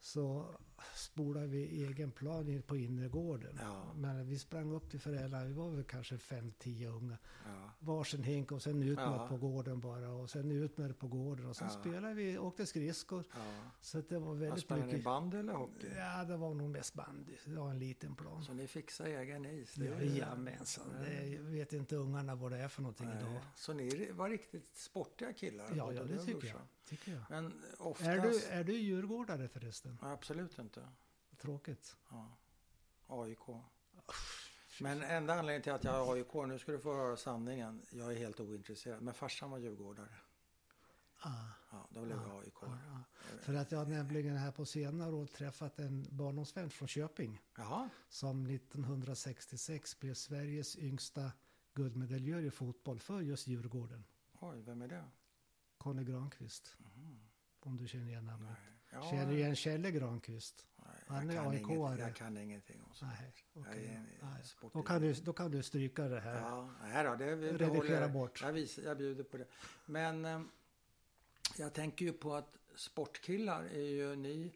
Speaker 2: så spolade vi egen plan in på innergården.
Speaker 1: Ja.
Speaker 2: Men vi sprang upp till föräldrarna, vi var väl kanske fem, tio unga.
Speaker 1: Ja.
Speaker 2: Varsin hink och sen ut med
Speaker 1: Ja.
Speaker 2: det på gården bara och sen ut med det på gården. Och sen
Speaker 1: Ja.
Speaker 2: spelade vi, åkte skridskor.
Speaker 1: Ja.
Speaker 2: Så att det var
Speaker 1: Ja,
Speaker 2: väldigt
Speaker 1: Spelade ni
Speaker 2: mycket.
Speaker 1: bandy eller hockey?
Speaker 2: Ja, det var nog mest bandy. Det var en liten plan.
Speaker 1: Så ni fixade egen is? det är ju-
Speaker 2: Jajamensan, det jag vet inte ungarna vad det är för någonting
Speaker 1: Nej.
Speaker 2: idag.
Speaker 1: Så ni var riktigt sportiga killar?
Speaker 2: Ja,
Speaker 1: både
Speaker 2: ja
Speaker 1: du
Speaker 2: det
Speaker 1: och
Speaker 2: tycker jag.
Speaker 1: brorsan.
Speaker 2: Tycker jag.
Speaker 1: Men oftast...
Speaker 2: Är, du, är du djurgårdare förresten?
Speaker 1: Nej, Absolut inte.
Speaker 2: Tråkigt.
Speaker 1: Ja. AIK. Men enda anledningen till att jag är AIK, nu ska du få höra sanningen. Jag är helt ointresserad. Men farsan var djurgårdare.
Speaker 2: Ah.
Speaker 1: Ja, då blev jag AIK.
Speaker 2: Ja, För att jag har nämligen här på senare år träffat en barndomsvän från Köping
Speaker 1: Jaha,
Speaker 2: som 1966 blev Sveriges yngsta guldmedaljör i fotboll för just Djurgården.
Speaker 1: oj, vem är det?
Speaker 2: Conny Granqvist. Om du känner igen namnet.
Speaker 1: Ja,
Speaker 2: Känner du igen Kjelle Granqvist?
Speaker 1: nej,
Speaker 2: han är
Speaker 1: jag kan
Speaker 2: AIK
Speaker 1: inget-
Speaker 2: -are.
Speaker 1: Jag kan ingenting om sånt.
Speaker 2: Nej, okej.
Speaker 1: Jag är
Speaker 2: ja.
Speaker 1: en
Speaker 2: Nej.
Speaker 1: sportiv-
Speaker 2: Då, kan du, då kan du stryka det här.
Speaker 1: Ja, nej då, det vi
Speaker 2: Eh. Redigera
Speaker 1: behåller-
Speaker 2: bort.
Speaker 1: Jag, visar, jag bjuder på det. Men eh, jag tänker ju på att sportkillar är ju, ni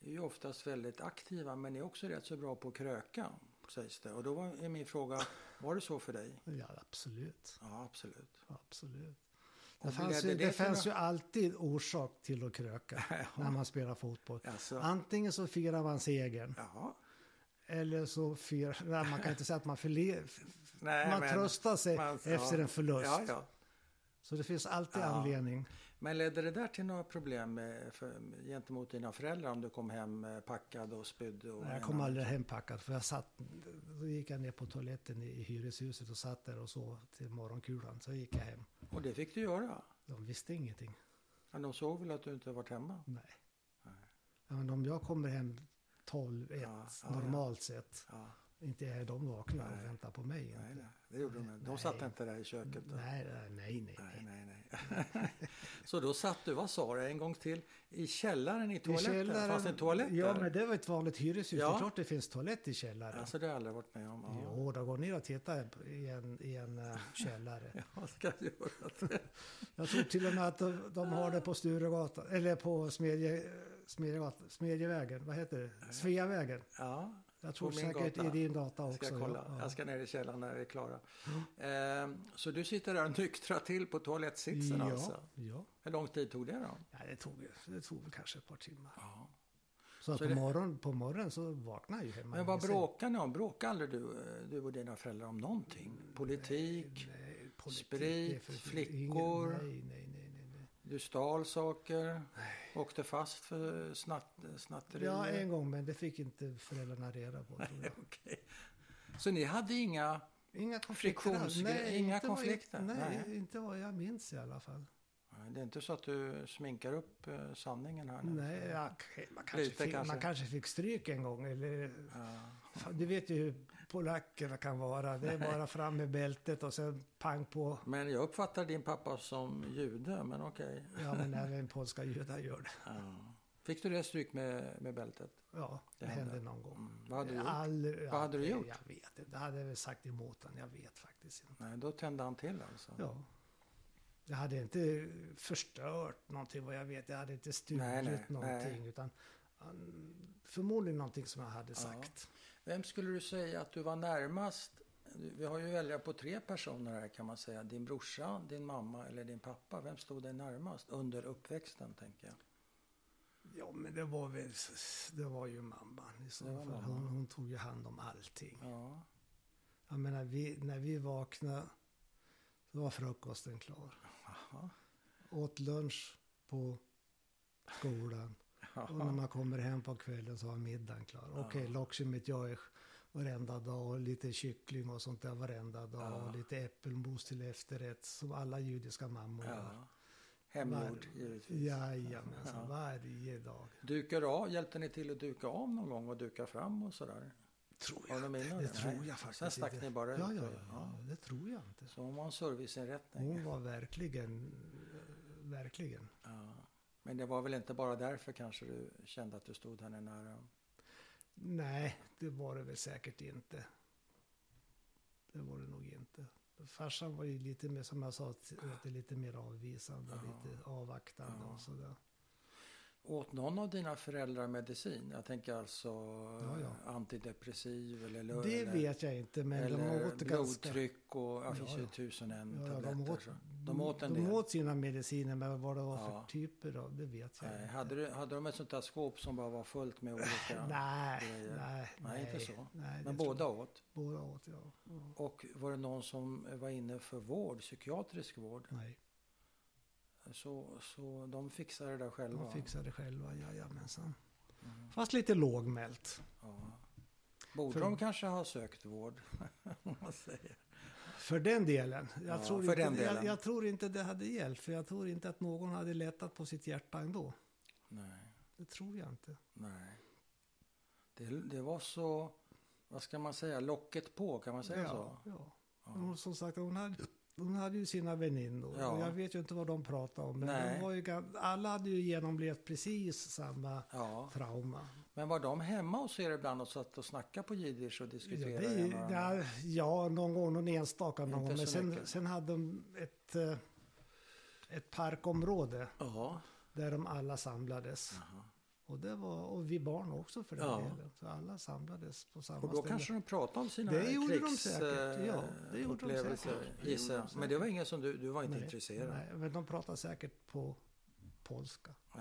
Speaker 1: är ju oftast väldigt aktiva men ni är också rätt så bra på att kröka, sägs det. Och då var, är min fråga, var det så för dig?
Speaker 2: Ja, absolut.
Speaker 1: Ja, absolut.
Speaker 2: absolut.
Speaker 1: Och
Speaker 2: Det fanns,
Speaker 1: ledde
Speaker 2: ju,
Speaker 1: det
Speaker 2: det
Speaker 1: till
Speaker 2: fanns ju
Speaker 1: något?
Speaker 2: alltid orsak till att kröka när man spelar fotboll.
Speaker 1: Alltså,
Speaker 2: Antingen så firar man segern
Speaker 1: jaha.
Speaker 2: Eller så fyra, nej, man kan inte säga att man förle,
Speaker 1: Nej,
Speaker 2: man
Speaker 1: men-
Speaker 2: tröstar sig
Speaker 1: man- ja.
Speaker 2: efter en förlust.
Speaker 1: Ja, ja.
Speaker 2: Så det finns alltid
Speaker 1: Ja.
Speaker 2: anledning.
Speaker 1: Men ledde det där till några problem med, för, gentemot dina föräldrar om du kom hem eh, packad och spydde? Och
Speaker 2: Jag kom aldrig hempackad för jag satt, då gick jag ner på toaletten i, i hyreshuset och satt där och sov till morgonkulan. Så gick jag hem.
Speaker 1: Och det fick du göra?
Speaker 2: De visste ingenting.
Speaker 1: Men de såg väl att du inte varit hemma?
Speaker 2: Nej. Ja, men om jag kommer hem 12, 1
Speaker 1: Ja, ja,
Speaker 2: normalt sett.
Speaker 1: Ja.
Speaker 2: Inte är de vakna
Speaker 1: Nej.
Speaker 2: och väntar på mig. inte.
Speaker 1: Nej, nej, det gjorde de inte. De satt
Speaker 2: Nej.
Speaker 1: inte där i köket. då.
Speaker 2: Nej, nej, nej. nej.
Speaker 1: Mm. Nej, nej, nej. Så då satt du, vad sa du, en gång till, i källaren i
Speaker 2: I
Speaker 1: toaletten? Fanns det en toalett
Speaker 2: Ja,
Speaker 1: där?
Speaker 2: men det var ett vanligt hyreshus.
Speaker 1: Ja.
Speaker 2: Det är klart det finns toalett i källaren.
Speaker 1: Alltså det har jag aldrig varit med om. Ja.
Speaker 2: Jo, då går ner och tittar i en, i en eh, källare.
Speaker 1: Jag ska göra det.
Speaker 2: Jag tror till och med att de, de har det på Sturegatan, eller på Smedje, Smedjegatan, Smedjevägen, vad heter det? Sveavägen.
Speaker 1: Ja,
Speaker 2: Jag tror
Speaker 1: På min
Speaker 2: säkert
Speaker 1: gata.
Speaker 2: i din data
Speaker 1: jag
Speaker 2: också.
Speaker 1: ska kolla.
Speaker 2: Ja,
Speaker 1: Jag ska ner i källaren när vi är klara. Ehm, så du sitter där och nyktrar till på toalettsitsen
Speaker 2: ja.
Speaker 1: alltså?
Speaker 2: ja.
Speaker 1: Hur lång tid tog det då?
Speaker 2: ja det, tog, ju- det tog väl kanske ett par timmar.
Speaker 1: Ja.
Speaker 2: Så, att
Speaker 1: Så
Speaker 2: på,
Speaker 1: det-
Speaker 2: morgon, på morgonen så vaknar jag ju hemma.
Speaker 1: Men vad
Speaker 2: i sängen.
Speaker 1: bråkar ni om? Bråkar aldrig du, eh, du och dina föräldrar om någonting? Politik?
Speaker 2: Nej, politik,
Speaker 1: Sprit,
Speaker 2: det är för-
Speaker 1: flickor.
Speaker 2: Ingen, nej, nej, nej, nej,
Speaker 1: Du stal saker? Åkte fast för snatt,
Speaker 2: nej.
Speaker 1: snatteri?
Speaker 2: Ja, en gång, men det fick inte föräldrarna reda på tror jag.
Speaker 1: Okej. Så ni hade inga
Speaker 2: Inga konflikter alls.
Speaker 1: Friktionsgre-
Speaker 2: Nej,
Speaker 1: inga
Speaker 2: inte vad-
Speaker 1: konflikter,
Speaker 2: Nej,
Speaker 1: nej.
Speaker 2: inte vad jag minns i alla fall.
Speaker 1: Nej, Det är inte så att du sminkar upp eh, sanningen här nu?
Speaker 2: Nej, ja, k- man, kanske
Speaker 1: Lite
Speaker 2: fick,
Speaker 1: kanske.
Speaker 2: man kanske fick stryk en gång. Eller,
Speaker 1: Ja.
Speaker 2: fan, du vet ju hur polackerna kan vara. Det är bara fram med bältet och sen pang på.
Speaker 1: Men jag uppfattar din pappa som jude, men okej.
Speaker 2: Ja, men även polska judar gör det.
Speaker 1: Ja. Fick du det stryk med, med bältet?
Speaker 2: Ja,
Speaker 1: Det
Speaker 2: det,
Speaker 1: händer.
Speaker 2: hände någon gång.
Speaker 1: Mm. Vad hade du gjort?
Speaker 2: Aldrig-
Speaker 1: Vad hade du
Speaker 2: aldrig,
Speaker 1: gjort?
Speaker 2: Jag vet inte. Jag hade väl sagt emot den. Jag vet faktiskt inte.
Speaker 1: Nej, då tände han till alltså.
Speaker 2: Ja. Jag hade inte förstört någonting vad jag vet. Jag hade inte stulit
Speaker 1: Nej, nej,
Speaker 2: någonting.
Speaker 1: nej.
Speaker 2: Utan um, förmodligen någonting som jag hade
Speaker 1: Ja.
Speaker 2: sagt.
Speaker 1: Vem skulle du säga att du var närmast? Vi har ju välja på tre personer här kan man säga. Din brorsa, din mamma eller din pappa. Vem stod dig närmast under uppväxten tänker jag?
Speaker 2: Ja, men det var väl, det var ju mamman i så
Speaker 1: Det var
Speaker 2: fall.
Speaker 1: mamman.
Speaker 2: Hon, hon tog ju hand om allting.
Speaker 1: Ja.
Speaker 2: Jag menar, vi, när vi vaknade så var frukosten klar.
Speaker 1: Aha.
Speaker 2: Åt lunch på skolan. Och när man kommer hem på kvällen så har middagen klar.
Speaker 1: Ja.
Speaker 2: Okej, lokshimitjoj varenda dag och lite kyckling och sånt där varenda dag.
Speaker 1: Ja.
Speaker 2: Och lite äppelmos till efterrätt som alla judiska mammor gör.
Speaker 1: Ja. Hemgjord
Speaker 2: Var-
Speaker 1: givetvis.
Speaker 2: Jajamensan,
Speaker 1: Ja.
Speaker 2: varje dag.
Speaker 1: Dukar av, hjälpte ni till att duka av någon gång och duka fram och sådär?
Speaker 2: Tror
Speaker 1: Har
Speaker 2: jag
Speaker 1: du
Speaker 2: inte.
Speaker 1: minne av
Speaker 2: Det tror
Speaker 1: Nej.
Speaker 2: jag
Speaker 1: Sen
Speaker 2: faktiskt
Speaker 1: stack
Speaker 2: inte.
Speaker 1: ni bara
Speaker 2: Ja, ja,
Speaker 1: ut?
Speaker 2: ja, Mm.
Speaker 1: och-
Speaker 2: ja, det tror jag inte.
Speaker 1: Så hon var en serviceinrättning?
Speaker 2: Hon var verkligen, eh, verkligen.
Speaker 1: Ja. Men det var väl inte bara därför kanske du kände att du stod henne nära?
Speaker 2: Nej, det var det väl säkert inte. Det var det nog inte. Farsan var ju lite mer, som jag sa, t- åt det lite mer avvisande,
Speaker 1: Ja.
Speaker 2: lite avvaktande
Speaker 1: Ja.
Speaker 2: och sådär.
Speaker 1: Åt någon av dina föräldrar medicin? Jag tänker alltså
Speaker 2: Ja, ja.
Speaker 1: eh, antidepressiv eller lör-
Speaker 2: Det
Speaker 1: eller,
Speaker 2: vet jag inte, men de
Speaker 1: eller
Speaker 2: åt ganska...
Speaker 1: blodtryck och ja, finns
Speaker 2: Ja,
Speaker 1: ju
Speaker 2: ja.
Speaker 1: tusen och en
Speaker 2: Ja, de,
Speaker 1: tabletter.
Speaker 2: åt,
Speaker 1: så. de åt en
Speaker 2: de
Speaker 1: del.
Speaker 2: åt sina mediciner, men vad det var
Speaker 1: Ja.
Speaker 2: för typer av, det vet jag
Speaker 1: Nej,
Speaker 2: inte.
Speaker 1: hade, du, hade de ett sånt där skåp som bara var fullt med olika?
Speaker 2: nej,
Speaker 1: grejer.
Speaker 2: nej, nej,
Speaker 1: Nej, inte så.
Speaker 2: nej, det
Speaker 1: Men
Speaker 2: tror
Speaker 1: båda
Speaker 2: jag-
Speaker 1: åt.
Speaker 2: Båda åt, ja. ja.
Speaker 1: Och var det någon som var inne för vård, psykiatrisk vård,
Speaker 2: Nej,
Speaker 1: så, så de fixade det där själva?
Speaker 2: de fixade själva, jajamensan.
Speaker 1: Mm.
Speaker 2: Fast lite lågmält.
Speaker 1: Ja. Borde
Speaker 2: För-
Speaker 1: de kanske ha sökt vård? om man säger.
Speaker 2: För den delen. Jag,
Speaker 1: Ja,
Speaker 2: tror
Speaker 1: för
Speaker 2: inte,
Speaker 1: den delen.
Speaker 2: Jag, jag tror inte det hade hjälpt. För jag tror inte att någon hade lättat på sitt hjärta ändå.
Speaker 1: Nej.
Speaker 2: Det tror jag inte.
Speaker 1: Nej. Det, det var så, vad ska man säga, locket på, kan man säga
Speaker 2: ja,
Speaker 1: så?
Speaker 2: Ja. Men
Speaker 1: Ja.
Speaker 2: Hon, som sagt, hon hade, hon hade ju sina väninnor.
Speaker 1: Ja.
Speaker 2: Och jag vet ju inte vad de pratade om. Men
Speaker 1: Nej.
Speaker 2: de var ju, gan- alla hade ju genomlevt precis samma
Speaker 1: ja.
Speaker 2: trauma.
Speaker 1: Men var de hemma hos er ibland och satt och snackade på jiddisch och
Speaker 2: Ja,
Speaker 1: diskuterade?
Speaker 2: det,
Speaker 1: med varandra?
Speaker 2: det, ja, någon gång, någon enstaka
Speaker 1: Inte
Speaker 2: någon gång.
Speaker 1: så
Speaker 2: Men sen,
Speaker 1: mycket.
Speaker 2: sen hade de ett, eh, ett parkområde
Speaker 1: Ja.
Speaker 2: där de alla samlades.
Speaker 1: Jaha.
Speaker 2: Och, det var, och vi barn också för den
Speaker 1: Ja.
Speaker 2: delen. Så alla samlades på samma
Speaker 1: Och då
Speaker 2: ställe.
Speaker 1: kanske de pratade om sina
Speaker 2: Det gjorde de
Speaker 1: krigs,
Speaker 2: säkert,
Speaker 1: eh,
Speaker 2: ja, det gjorde de
Speaker 1: upplevelser,
Speaker 2: säkert. Det
Speaker 1: gissar
Speaker 2: gjorde
Speaker 1: jag.
Speaker 2: de
Speaker 1: Men det var ingen som du, du var inte
Speaker 2: Nej,
Speaker 1: intresserad?
Speaker 2: Nej, men de pratade säkert på polska.
Speaker 1: Ja.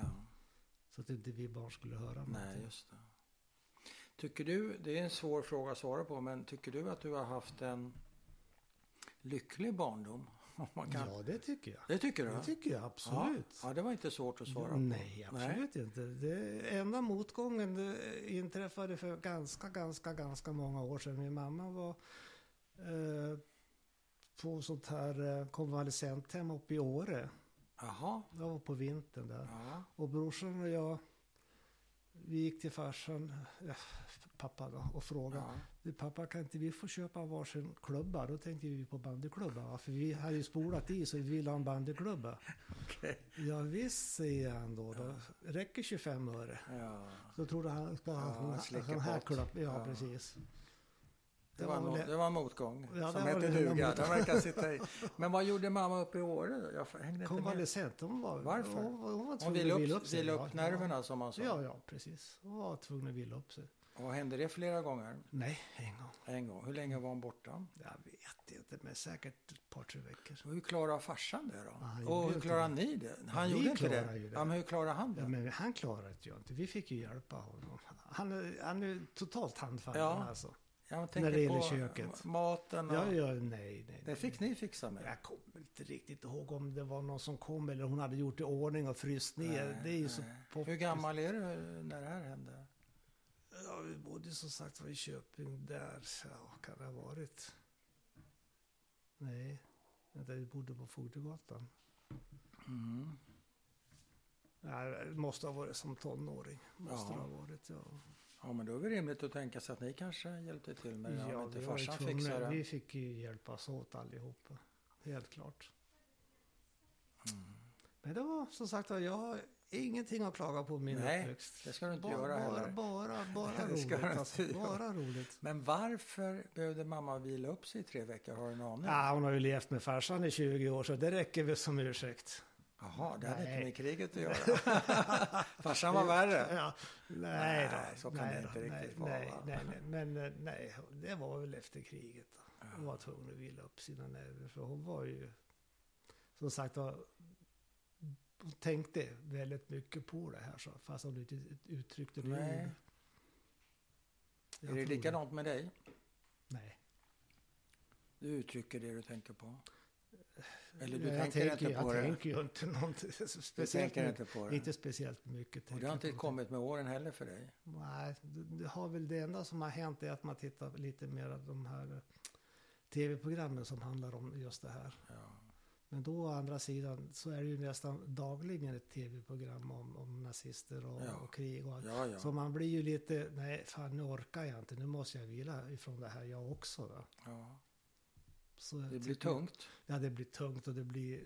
Speaker 2: Så att inte vi barn skulle höra
Speaker 1: Nej,
Speaker 2: någonting.
Speaker 1: just det. Tycker du, det är en svår fråga att svara på, men tycker du att du har haft en lycklig barndom? Om man kan...
Speaker 2: Ja, det tycker jag.
Speaker 1: Det tycker du?
Speaker 2: Det tycker jag absolut.
Speaker 1: Ja, ja, det var inte svårt att svara på.
Speaker 2: Nej, absolut inte. Det enda motgången det inträffade för ganska, ganska, ganska många år sedan. Min mamma var eh, på sånt här eh, konvalescenthem uppe i Åre.
Speaker 1: Jaha.
Speaker 2: Det var på vintern där.
Speaker 1: Ja.
Speaker 2: Och brorsan och jag, vi gick till farsan, eh, pappa då, och frågade.
Speaker 1: Ja.
Speaker 2: Du pappa, kan inte vi få köpa varsin klubba? Då tänkte vi på bandyklubba, va? för vi hade ju spolat i så vi ville ha en bandyklubba.
Speaker 1: Okej.
Speaker 2: Ja visst, säger han då. då. Räcker 25 öre?
Speaker 1: Ja.
Speaker 2: Då trodde han, ska
Speaker 1: Ja,
Speaker 2: han
Speaker 1: han
Speaker 2: ha
Speaker 1: slicker
Speaker 2: sån här
Speaker 1: bort.
Speaker 2: klubba. Ja,
Speaker 1: Ja.
Speaker 2: precis.
Speaker 1: Det, var en,
Speaker 2: väl
Speaker 1: mo-
Speaker 2: det.
Speaker 1: det var en motgång
Speaker 2: Ja,
Speaker 1: som
Speaker 2: det var
Speaker 1: hette
Speaker 2: det.
Speaker 1: duga. Den verkar sitta i. Men vad gjorde mamma uppe i Åre? Jag hängde inte med.
Speaker 2: Konvalescent, hon var...
Speaker 1: Varför?
Speaker 2: Hon, var- hon var
Speaker 1: Hon
Speaker 2: tvungen att
Speaker 1: ville upp,
Speaker 2: sig.
Speaker 1: vila
Speaker 2: Ja,
Speaker 1: upp nerverna som man sa.
Speaker 2: Ja, ja, precis. Hon var tvungen att vila upp sig.
Speaker 1: Och hände det flera gånger?
Speaker 2: Nej, en gång.
Speaker 1: En gång. Hur länge var hon borta?
Speaker 2: Jag vet inte, men säkert ett par, tre veckor.
Speaker 1: Och hur klarade farsan det då?
Speaker 2: Ja, han
Speaker 1: och
Speaker 2: gjorde
Speaker 1: hur
Speaker 2: inte
Speaker 1: klarade ni det? Han
Speaker 2: vi
Speaker 1: gjorde inte det.
Speaker 2: klarade ju det.
Speaker 1: Ja, men hur klarade han det?
Speaker 2: Ja, men han klarade det ju inte. Vi fick ju hjälpa honom. Han är, han är totalt handfallen
Speaker 1: Ja.
Speaker 2: alltså.
Speaker 1: jag tänker
Speaker 2: när det gäller
Speaker 1: på
Speaker 2: köket.
Speaker 1: maten och...
Speaker 2: Ja, ja, nej, nej. nej.
Speaker 1: Det fick ni fixa med.
Speaker 2: Jag kommer inte riktigt ihåg om det var någon som kom eller hon hade gjort i ordning och fryst ner.
Speaker 1: Nej,
Speaker 2: det är ju så
Speaker 1: nej.
Speaker 2: poppis.
Speaker 1: Hur gammal är du när det här hände?
Speaker 2: Ja, vi bodde som sagt var i Köping där. Så, ja, kan det ha varit? Nej, vänta, vi bodde på Fogdegatan.
Speaker 1: Mm.
Speaker 2: Nej, det måste ha varit som tonåring. Måste
Speaker 1: Ja.
Speaker 2: det ha varit, ja.
Speaker 1: Ja, men då är det rimligt att tänka sig att ni kanske hjälpte till med det. om inte
Speaker 2: vi, var ju
Speaker 1: farsan
Speaker 2: tvungna-
Speaker 1: fixade
Speaker 2: vi
Speaker 1: det.
Speaker 2: fick ju hjälpas åt allihopa. Helt klart.
Speaker 1: Mm.
Speaker 2: Men det var som sagt var, jag har ingenting att klaga på min
Speaker 1: Nej,
Speaker 2: uppväxt.
Speaker 1: det ska du inte
Speaker 2: bara,
Speaker 1: göra
Speaker 2: bara,
Speaker 1: heller.
Speaker 2: bara, bara
Speaker 1: Det ska du
Speaker 2: roligt.
Speaker 1: inte
Speaker 2: Alltså,
Speaker 1: göra.
Speaker 2: bara roligt.
Speaker 1: Men varför behövde mamma vila upp sig i tre veckor? Har du en aning?
Speaker 2: Ja, hon har ju levt med farsan i 20 år så det räcker väl som ursäkt.
Speaker 1: Jaha, det hade inte
Speaker 2: Nej.
Speaker 1: med kriget att göra. Farsan var värre.
Speaker 2: Ja, nej, då,
Speaker 1: Nej, så kan
Speaker 2: nej
Speaker 1: det
Speaker 2: då,
Speaker 1: inte
Speaker 2: nej,
Speaker 1: riktigt vara,
Speaker 2: Nej,
Speaker 1: va?
Speaker 2: nej, nej, men eh, nej, det var väl efter kriget. Då. Hon var tvungen att vila upp sina nerver för hon var ju som sagt var hon tänkte väldigt mycket på det här så, fast hon inte uttryckte det. i
Speaker 1: Nej.
Speaker 2: ord. Jag
Speaker 1: Är det
Speaker 2: tror det.
Speaker 1: likadant med dig?
Speaker 2: Nej.
Speaker 1: Du uttrycker det du tänker på. Eller du
Speaker 2: jag
Speaker 1: tänker
Speaker 2: tänker,
Speaker 1: inte på
Speaker 2: jag
Speaker 1: det.
Speaker 2: tänker ju inte någonting
Speaker 1: Du
Speaker 2: speciellt.
Speaker 1: tänker
Speaker 2: mycket-
Speaker 1: inte på
Speaker 2: Inte
Speaker 1: det.
Speaker 2: speciellt mycket.
Speaker 1: Och
Speaker 2: tänker
Speaker 1: det har
Speaker 2: jag
Speaker 1: inte
Speaker 2: på.
Speaker 1: kommit med åren heller för dig.
Speaker 2: Nej, det, det har väl det enda som har hänt är att man tittar lite mer av de här eh, tv-programmen som handlar om just det här.
Speaker 1: Ja.
Speaker 2: Men då å andra sidan så är det ju nästan dagligen ett tv-program om, om nazister och,
Speaker 1: Ja.
Speaker 2: och krig och allt.
Speaker 1: Ja, ja.
Speaker 2: Så man blir ju lite, nej fan nu orkar jag inte, nu måste jag vila ifrån det här jag också. Då.
Speaker 1: ja.
Speaker 2: Så jag
Speaker 1: Det blir
Speaker 2: tycker-
Speaker 1: tungt.
Speaker 2: Ja, det blir tungt och det blir,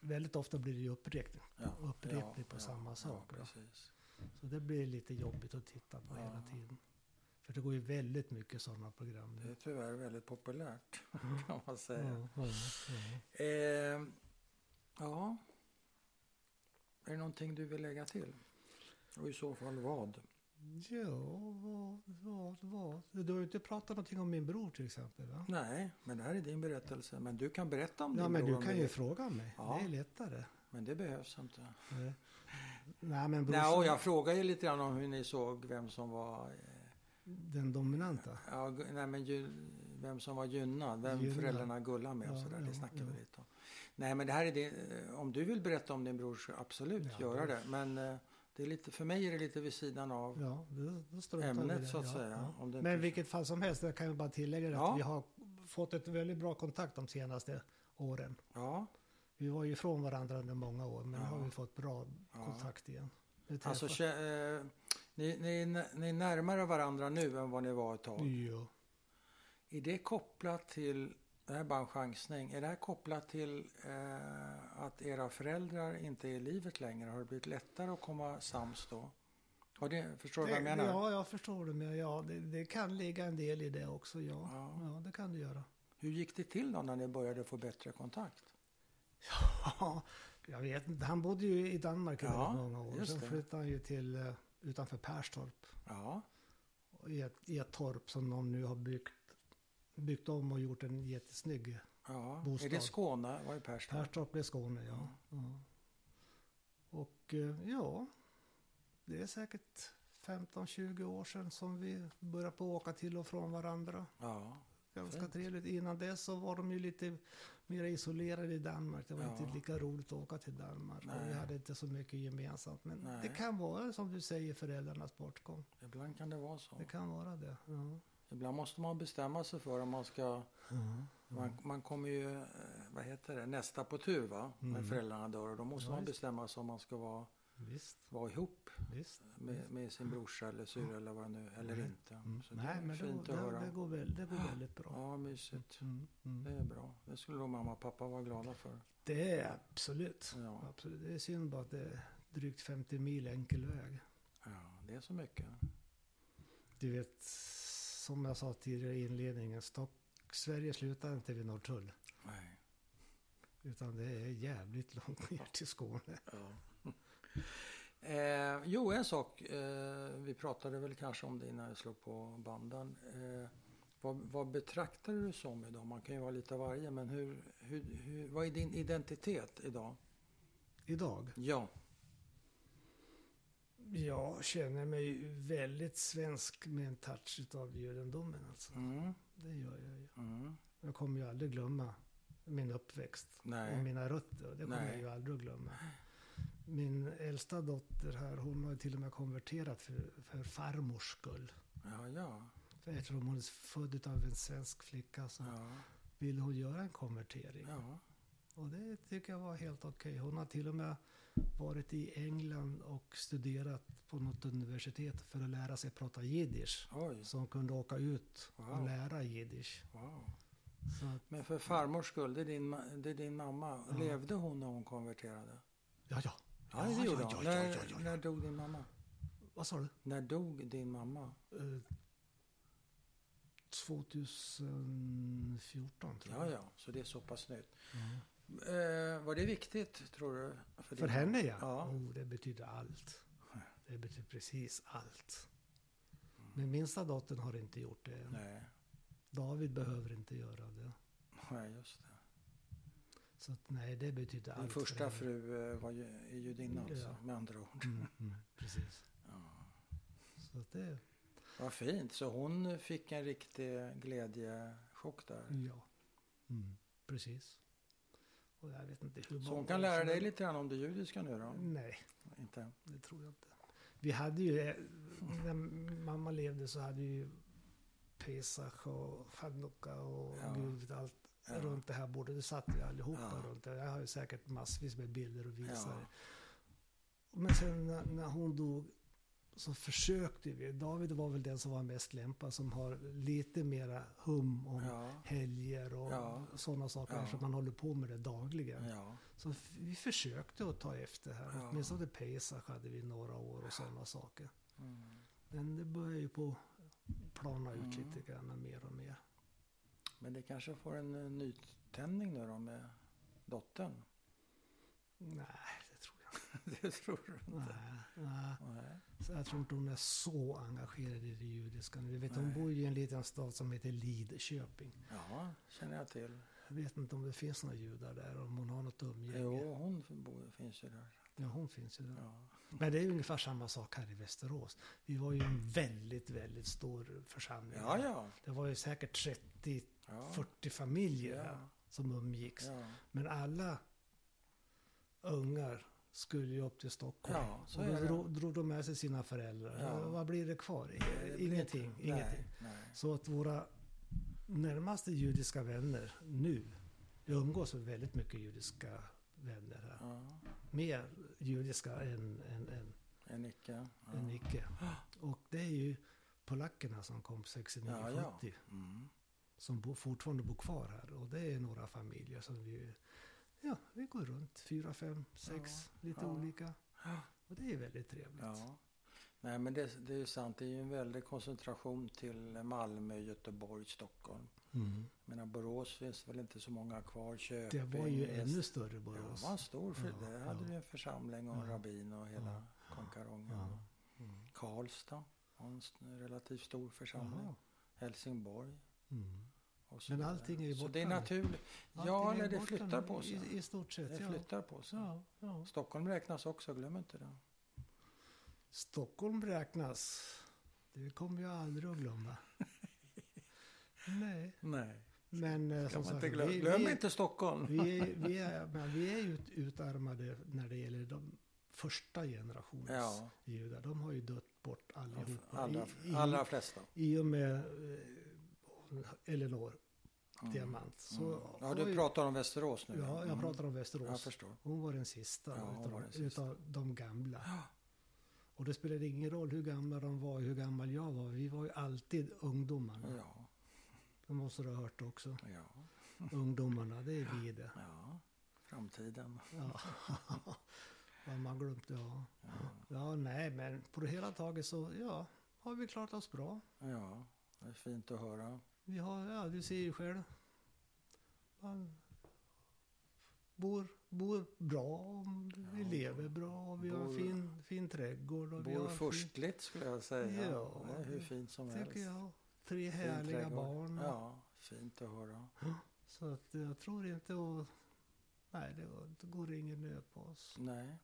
Speaker 2: väldigt ofta blir det ju upprepning,
Speaker 1: Ja,
Speaker 2: upprepning
Speaker 1: ja,
Speaker 2: på
Speaker 1: ja,
Speaker 2: samma sak. liksom.
Speaker 1: Ja,
Speaker 2: då.
Speaker 1: precis.
Speaker 2: Så det blir lite jobbigt att titta på
Speaker 1: Ja.
Speaker 2: hela tiden. För det går ju väldigt mycket sådana program
Speaker 1: Det är
Speaker 2: nu.
Speaker 1: tyvärr väldigt populärt kan man
Speaker 2: Ja,
Speaker 1: säga.
Speaker 2: ja,
Speaker 1: Eh, ja. Är det någonting du vill lägga till? Och i så fall vad?
Speaker 2: ja. ja vad, vad, vad? Du har ju inte pratat någonting om min bror till exempel va?
Speaker 1: Nej, men det här är din berättelse. Men du kan berätta om
Speaker 2: Ja
Speaker 1: din
Speaker 2: men
Speaker 1: bror
Speaker 2: du
Speaker 1: om
Speaker 2: kan
Speaker 1: du
Speaker 2: ju
Speaker 1: vill.
Speaker 2: fråga mig.
Speaker 1: Ja.
Speaker 2: Det är lättare.
Speaker 1: Men det behövs inte.
Speaker 2: Nej. Nej men
Speaker 1: Nej, och
Speaker 2: brorsan,
Speaker 1: jag frågar ju lite grann om hur ni såg vem som var... eh,
Speaker 2: den dominanta.
Speaker 1: Ja, gu- nej, men ju, vem som var gynnad, vem
Speaker 2: Gynnad.
Speaker 1: föräldrarna gullade med och
Speaker 2: Ja,
Speaker 1: sådär.
Speaker 2: ja,
Speaker 1: det snackar
Speaker 2: ja.
Speaker 1: vi lite om. Nej, men det här är det... eh, Om du vill berätta om din bror så absolut
Speaker 2: Ja,
Speaker 1: göra
Speaker 2: det-
Speaker 1: det. Men eh, det är lite, för mig är det lite vid sidan av
Speaker 2: Ja, då, då struntar vi i det.
Speaker 1: ämnet så att
Speaker 2: ja,
Speaker 1: säga.
Speaker 2: ja.
Speaker 1: Om det inte
Speaker 2: Men vilket fall som helst, jag kan ju bara tillägga det
Speaker 1: Ja.
Speaker 2: att vi har fått ett väldigt bra kontakt de senaste åren.
Speaker 1: Ja,
Speaker 2: Vi var ju ifrån varandra under många år, men nu har
Speaker 1: Ja.
Speaker 2: vi fått bra
Speaker 1: Ja.
Speaker 2: kontakt igen. Vi
Speaker 1: alltså
Speaker 2: träffas-
Speaker 1: kä- eh, ni, ni, ni är närmare varandra nu än vad ni var ett tag.
Speaker 2: Jo.
Speaker 1: Är det kopplat till, det här är bara en chansning, är det här kopplat till eh, att era föräldrar inte är i livet längre? Har det blivit lättare att komma sams då? Har det, förstår du vad jag menar?
Speaker 2: Ja, jag förstår det. Men ja, det, det kan ligga en del i det också. Ja,
Speaker 1: Ja.
Speaker 2: ja. det kan det göra.
Speaker 1: Hur gick det till då när ni började få bättre kontakt?
Speaker 2: Ja, jag vet inte. Han bodde ju i Danmark i
Speaker 1: Ja,
Speaker 2: väldigt många år.
Speaker 1: just
Speaker 2: Sen
Speaker 1: det.
Speaker 2: flyttade han ju till eh, utanför Perstorp.
Speaker 1: Ja,
Speaker 2: I ett, I ett torp som de nu har byggt, byggt om och gjort en jättesnygg.
Speaker 1: ja.
Speaker 2: Bostad.
Speaker 1: är det Skåne? Var är Perstorp?
Speaker 2: Perstorp är Skåne, ja. ja. Och eh, ja, det är säkert 15-20 år sedan som vi började på att åka till och från varandra.
Speaker 1: Ja,
Speaker 2: Ganska
Speaker 1: Fint.
Speaker 2: trevligt. Innan det så var de ju lite mer isolerade i Danmark. Det var
Speaker 1: Ja.
Speaker 2: inte lika roligt att åka till Danmark. Och
Speaker 1: Nej.
Speaker 2: vi hade inte så mycket gemensamt. Men
Speaker 1: Nej.
Speaker 2: det kan vara som du säger föräldrarnas bortgång.
Speaker 1: ibland kan det vara så.
Speaker 2: Det kan vara det. Ja.
Speaker 1: Ibland måste man bestämma sig för om man
Speaker 2: Mm.
Speaker 1: ska... Man, man kommer ju, eh, vad heter det, nästa på tur va? När
Speaker 2: Mm.
Speaker 1: föräldrarna dör och då måste
Speaker 2: Ja,
Speaker 1: man
Speaker 2: visst.
Speaker 1: bestämma sig om man ska vara,
Speaker 2: Visst,
Speaker 1: vara ihop
Speaker 2: visst.
Speaker 1: med, med sin brorsa eller syrra eller vad det nu eller
Speaker 2: Mm.
Speaker 1: inte.
Speaker 2: Mm.
Speaker 1: Så det
Speaker 2: Nej,
Speaker 1: är
Speaker 2: men det,
Speaker 1: fint
Speaker 2: går-
Speaker 1: att
Speaker 2: det,
Speaker 1: höra.
Speaker 2: det, går väl, det går väldigt bra.
Speaker 1: Ja, mysigt.
Speaker 2: Mm.
Speaker 1: Det
Speaker 2: Mm.
Speaker 1: är bra. Det skulle nog mamma och pappa vara glada för.
Speaker 2: Det är absolut.
Speaker 1: Ja,
Speaker 2: absolut. Det är synd bara att det är drygt 50 mil enkel väg.
Speaker 1: ja det är så mycket.
Speaker 2: Du vet, som jag sa tidigare i inledningen, Stock, Sverige slutar inte vid Norrtull.
Speaker 1: Nej.
Speaker 2: Utan det är jävligt långt ner till Skåne.
Speaker 1: Ja. Eh, jo, en sak. Eh, vi pratade väl kanske om det innan jag slog på banden. Eh, vad, vad betraktar du som idag? Man kan ju vara lite av varje, men hur, hur, hur, vad är din identitet idag?
Speaker 2: Idag?
Speaker 1: Ja,
Speaker 2: Jag känner mig väldigt svensk med en touch utav judendomen alltså.
Speaker 1: mm,
Speaker 2: Det gör jag ju.
Speaker 1: mm,
Speaker 2: Jag kommer ju aldrig glömma min uppväxt
Speaker 1: nej,
Speaker 2: och mina rötter. Det kommer
Speaker 1: Nej.
Speaker 2: jag ju aldrig att glömma. Min äldsta dotter här, hon har ju till och med konverterat för, för farmors skull.
Speaker 1: ja, ja,
Speaker 2: För eftersom hon är född utav en svensk flicka så
Speaker 1: ja,
Speaker 2: ville hon göra en konvertering.
Speaker 1: Ja.
Speaker 2: Och det tycker jag var helt okej. Hon har till och med varit i England och studerat på något universitet för att lära sig prata jiddisch.
Speaker 1: Oj.
Speaker 2: Så hon kunde åka ut och
Speaker 1: Wow.
Speaker 2: lära jiddisch.
Speaker 1: Wow.
Speaker 2: Så att,
Speaker 1: Men för farmors skull, det är din, ma- det är din mamma. Levde hon när hon konverterade?
Speaker 2: ja, ja.
Speaker 1: Mm. Ja, det gjorde hon. När, när dog din mamma?
Speaker 2: Vad sa du?
Speaker 1: När dog din mamma?
Speaker 2: Eh, 2014 tror jag.
Speaker 1: Ja, ja, så det är så pass nytt. Eh, var det viktigt, tror du?
Speaker 2: För
Speaker 1: din-
Speaker 2: henne ja.
Speaker 1: Ja.
Speaker 2: Oh, det betyder allt. Det betyder precis allt. Men minsta dottern har inte gjort det än.
Speaker 1: Mm. Nej,
Speaker 2: David behöver inte göra det.
Speaker 1: nej just det.
Speaker 2: Så att, nej, det betyder
Speaker 1: Din
Speaker 2: allt. för
Speaker 1: första
Speaker 2: henne.
Speaker 1: fru eh, var ju, är judinna alltså,
Speaker 2: Ja.
Speaker 1: med andra ord.
Speaker 2: Mm, mm, precis. Så att det,
Speaker 1: Vad fint. Så hon fick en riktig glädjechock där.
Speaker 2: ja. Mm, precis. Och jag vet inte
Speaker 1: Så
Speaker 2: hur många
Speaker 1: hon kan
Speaker 2: år
Speaker 1: lära
Speaker 2: som-
Speaker 1: dig lite grann om det judiska nu då?
Speaker 2: Nej.
Speaker 1: Inte?
Speaker 2: Det tror jag inte. Vi hade ju, eh, när mamma levde så hade ju Pesach och Chanukka och
Speaker 1: Ja.
Speaker 2: Gud, allt
Speaker 1: Ja.
Speaker 2: runt det här bordet. Det satt vi allihopa
Speaker 1: Ja.
Speaker 2: runt det. Jag har ju säkert massvis med bilder och visar.
Speaker 1: Ja.
Speaker 2: Men sen när, när hon dog så försökte vi. David var väl den som var mest lämpad som har lite mera hum om
Speaker 1: Ja.
Speaker 2: helger och
Speaker 1: Ja.
Speaker 2: sådana saker.
Speaker 1: Ja.
Speaker 2: Eftersom man håller på med det dagligen.
Speaker 1: Ja.
Speaker 2: Så f- vi försökte att ta efter här.
Speaker 1: Ja.
Speaker 2: Åtminstone Pesach hade vi några år och sådana saker.
Speaker 1: Mm.
Speaker 2: Men det börjar ju på plana ut lite grann mer och mer.
Speaker 1: Men det kanske får en eh, nytändning nu då med dottern?
Speaker 2: Nej, det tror jag
Speaker 1: det tror du
Speaker 2: inte.
Speaker 1: inte?
Speaker 2: Nej, nej.
Speaker 1: Nej.
Speaker 2: Så jag tror inte hon är så engagerad i det judiska. nu. Du vet, hon
Speaker 1: Nej.
Speaker 2: bor ju i en liten stad som heter Lidköping.
Speaker 1: Ja, känner jag till.
Speaker 2: Jag vet inte om det finns några judar där, om hon har något umgänge.
Speaker 1: Jo, hon bor, finns ju där.
Speaker 2: Ja, hon finns ju där.
Speaker 1: Ja.
Speaker 2: Men det är ungefär samma sak här i Västerås. Vi var ju en väldigt, väldigt stor församling.
Speaker 1: Ja, ja.
Speaker 2: Det var ju säkert 30
Speaker 1: ja.
Speaker 2: 40 familjer
Speaker 1: Ja.
Speaker 2: här som umgicks.
Speaker 1: ja.
Speaker 2: Men alla ungar skulle ju upp till Stockholm.
Speaker 1: Ja, så
Speaker 2: och
Speaker 1: är
Speaker 2: då
Speaker 1: det.
Speaker 2: drog, drog de med sig sina föräldrar.
Speaker 1: Ja.
Speaker 2: Och Vad blir det kvar?
Speaker 1: Det blir
Speaker 2: Ingenting.
Speaker 1: inte-
Speaker 2: ingenting.
Speaker 1: Nej, nej.
Speaker 2: Så att våra närmaste judiska vänner nu, jag umgås med väldigt mycket judiska vänner här.
Speaker 1: Ja.
Speaker 2: Mer judiska än, än, än,
Speaker 1: En icke. Ja.
Speaker 2: än icke. Och det är ju polackerna som kom 69-70
Speaker 1: Ja, ja. Mm.
Speaker 2: som bo, fortfarande bor kvar här. Och det är några familjer som vi, ja, vi går runt. Fyra, fem, sex, lite
Speaker 1: ja.
Speaker 2: olika.
Speaker 1: Ja.
Speaker 2: Och det är väldigt trevligt.
Speaker 1: Ja. Nej, men det, det är ju sant. Det är ju en väldig koncentration till Malmö, Göteborg, Stockholm.
Speaker 2: Mm.
Speaker 1: Jag menar, Borås finns väl inte så många kvar.
Speaker 2: Det
Speaker 1: Köping.
Speaker 2: var ju
Speaker 1: Väst-
Speaker 2: ännu större
Speaker 1: Ja,
Speaker 2: Borås.
Speaker 1: det var en stor för
Speaker 2: Ja,
Speaker 1: Där hade
Speaker 2: ja.
Speaker 1: du en församling och en
Speaker 2: Ja.
Speaker 1: rabbin och hela
Speaker 2: Ja.
Speaker 1: konkarongen.
Speaker 2: Ja.
Speaker 1: Karlstad var en s- relativt stor församling.
Speaker 2: Jaha.
Speaker 1: Helsingborg.
Speaker 2: Mm.
Speaker 1: Och så
Speaker 2: Men
Speaker 1: vidare.
Speaker 2: allting är ju
Speaker 1: Så
Speaker 2: borta
Speaker 1: det är
Speaker 2: nu.
Speaker 1: naturligt.
Speaker 2: Allting
Speaker 1: Ja,
Speaker 2: är
Speaker 1: eller det
Speaker 2: borta
Speaker 1: flyttar
Speaker 2: nu,
Speaker 1: på sig.
Speaker 2: I, I stort sett,
Speaker 1: Det
Speaker 2: ja.
Speaker 1: flyttar på sig.
Speaker 2: Ja, ja.
Speaker 1: Stockholm räknas också, glöm inte det.
Speaker 2: Stockholm räknas. Det kommer jag aldrig att glömma. Nej,
Speaker 1: Nej,
Speaker 2: men eh,
Speaker 1: glöm,
Speaker 2: som
Speaker 1: inte,
Speaker 2: sagt,
Speaker 1: glöm,
Speaker 2: vi,
Speaker 1: glöm
Speaker 2: vi,
Speaker 1: inte Stockholm.
Speaker 2: Vi är, vi är, men vi är ju ut- utarmade när det gäller de första generationens
Speaker 1: Ja.
Speaker 2: judar. De har ju dött bort allihopa.
Speaker 1: Allra,
Speaker 2: I, i,
Speaker 1: allra flesta.
Speaker 2: I och med eh, Eleanor Diamant. Så
Speaker 1: Mm. Ja, du pratar om Västerås nu.
Speaker 2: Ja, jag
Speaker 1: Mm.
Speaker 2: pratar om
Speaker 1: Jag
Speaker 2: Västerås.
Speaker 1: förstår.
Speaker 2: hon var den sista,
Speaker 1: Ja, hon
Speaker 2: utav,
Speaker 1: var den sista.
Speaker 2: utav de gamla.
Speaker 1: Ja.
Speaker 2: Och det spelade ingen roll hur gamla de var, hur gammal jag var. Vi var ju alltid ungdomarna.
Speaker 1: Ja,
Speaker 2: Det måste du ha hört också.
Speaker 1: ja,
Speaker 2: Ungdomarna, det är vi det.
Speaker 1: ja. Framtiden.
Speaker 2: Ja, vad man glömde ha. Ja, nej, men på det hela taget så ja, har vi klarat oss bra.
Speaker 1: Ja, det är fint att höra.
Speaker 2: Vi har, ja, du ser ju själv. Man bor, bor bra, och vi
Speaker 1: Ja.
Speaker 2: lever bra och vi har en
Speaker 1: Bor-
Speaker 2: fin, fin trädgård. Och vi har
Speaker 1: Bor
Speaker 2: en
Speaker 1: förstligt skulle jag säga.
Speaker 2: Ja,
Speaker 1: det är hur fint som
Speaker 2: Fin, tycker
Speaker 1: helst.
Speaker 2: jag. Tre
Speaker 1: Fin
Speaker 2: härliga
Speaker 1: trädgård.
Speaker 2: barn.
Speaker 1: Ja, fint att höra.
Speaker 2: Så att jag tror inte att... Nej, det, det går ingen nöd på oss.
Speaker 1: Nej,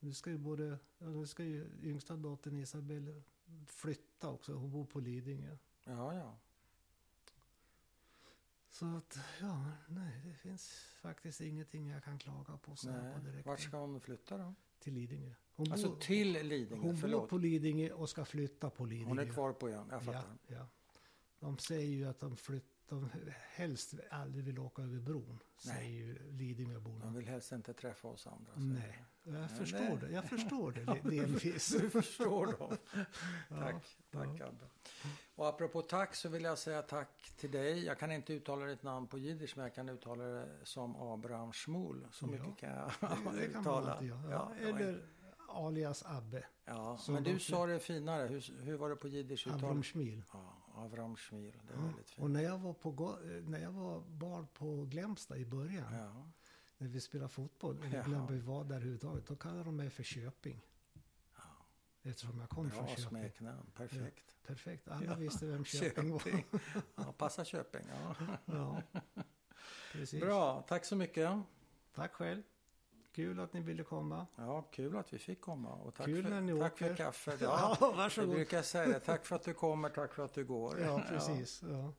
Speaker 2: Nu ska ju både, ja, nu ska ju yngsta dottern Isabel flytta också. Hon bor på Lidingö.
Speaker 1: ja, ja.
Speaker 2: Så att, ja, nej, det finns faktiskt ingenting jag kan klaga på så här
Speaker 1: Nej.
Speaker 2: på direkten.
Speaker 1: Vart ska hon flytta då?
Speaker 2: Till Lidingö. Hon,
Speaker 1: Alltså
Speaker 2: bor,
Speaker 1: till Lidingö,
Speaker 2: hon bor
Speaker 1: förlåt.
Speaker 2: på Lidingö och ska flytta på Lidingö.
Speaker 1: Hon är kvar på ön, jag
Speaker 2: ja,
Speaker 1: fattar.
Speaker 2: ja. De säger ju att de flyttar de helst aldrig vill åka över bron, säger ju Lidingöborna.
Speaker 1: De vill helst inte träffa oss andra. säger
Speaker 2: Nej, jag förstår
Speaker 1: nej.
Speaker 2: det. Jag förstår det li- delvis.
Speaker 1: de. Du förstår dem.
Speaker 2: Ja,
Speaker 1: Tack, tack
Speaker 2: ja.
Speaker 1: Abbe. Och apropå tack så vill jag säga tack till dig. Jag kan inte uttala ditt namn på jiddisch men jag kan uttala det som Abraham Schmoul. Så
Speaker 2: Ja,
Speaker 1: mycket kan jag
Speaker 2: Det, det kan man
Speaker 1: uttala.
Speaker 2: alltid göra.
Speaker 1: Ja,
Speaker 2: Ja,
Speaker 1: det var
Speaker 2: eller alias Abbe,
Speaker 1: Ja,
Speaker 2: Som
Speaker 1: men
Speaker 2: de
Speaker 1: du
Speaker 2: fler-
Speaker 1: sa det finare. Hur, hur var det på jiddisch uttal?
Speaker 2: Abram Schmil.
Speaker 1: Ja, Avram Schmil. Det är
Speaker 2: Ja.
Speaker 1: väldigt
Speaker 2: Och
Speaker 1: fint.
Speaker 2: när jag, var på, go- eh, när jag var barn på Glämsta i början,
Speaker 1: Ja,
Speaker 2: när vi spelade fotboll, eller
Speaker 1: Ja.
Speaker 2: glömde vi var där överhuvudtaget, då kallade de mig för Köping. Eftersom jag kom från
Speaker 1: bra
Speaker 2: Köping.
Speaker 1: smeknamn. Perfekt.
Speaker 2: Perfekt, alla visste vem Köping var.
Speaker 1: Ja, passa Köping. Ja.
Speaker 2: Ja. Precis.
Speaker 1: Bra, tack så mycket.
Speaker 2: Tack själv. Kul att ni ville komma.
Speaker 1: Ja, kul att vi fick komma. Och tack
Speaker 2: Kul
Speaker 1: för,
Speaker 2: när ni
Speaker 1: tack
Speaker 2: åker.
Speaker 1: för kaffet. Ja, vi
Speaker 2: varsågod.
Speaker 1: brukar säga det. Tack för att du kommer, tack för att du går.
Speaker 2: Ja, precis. Ja.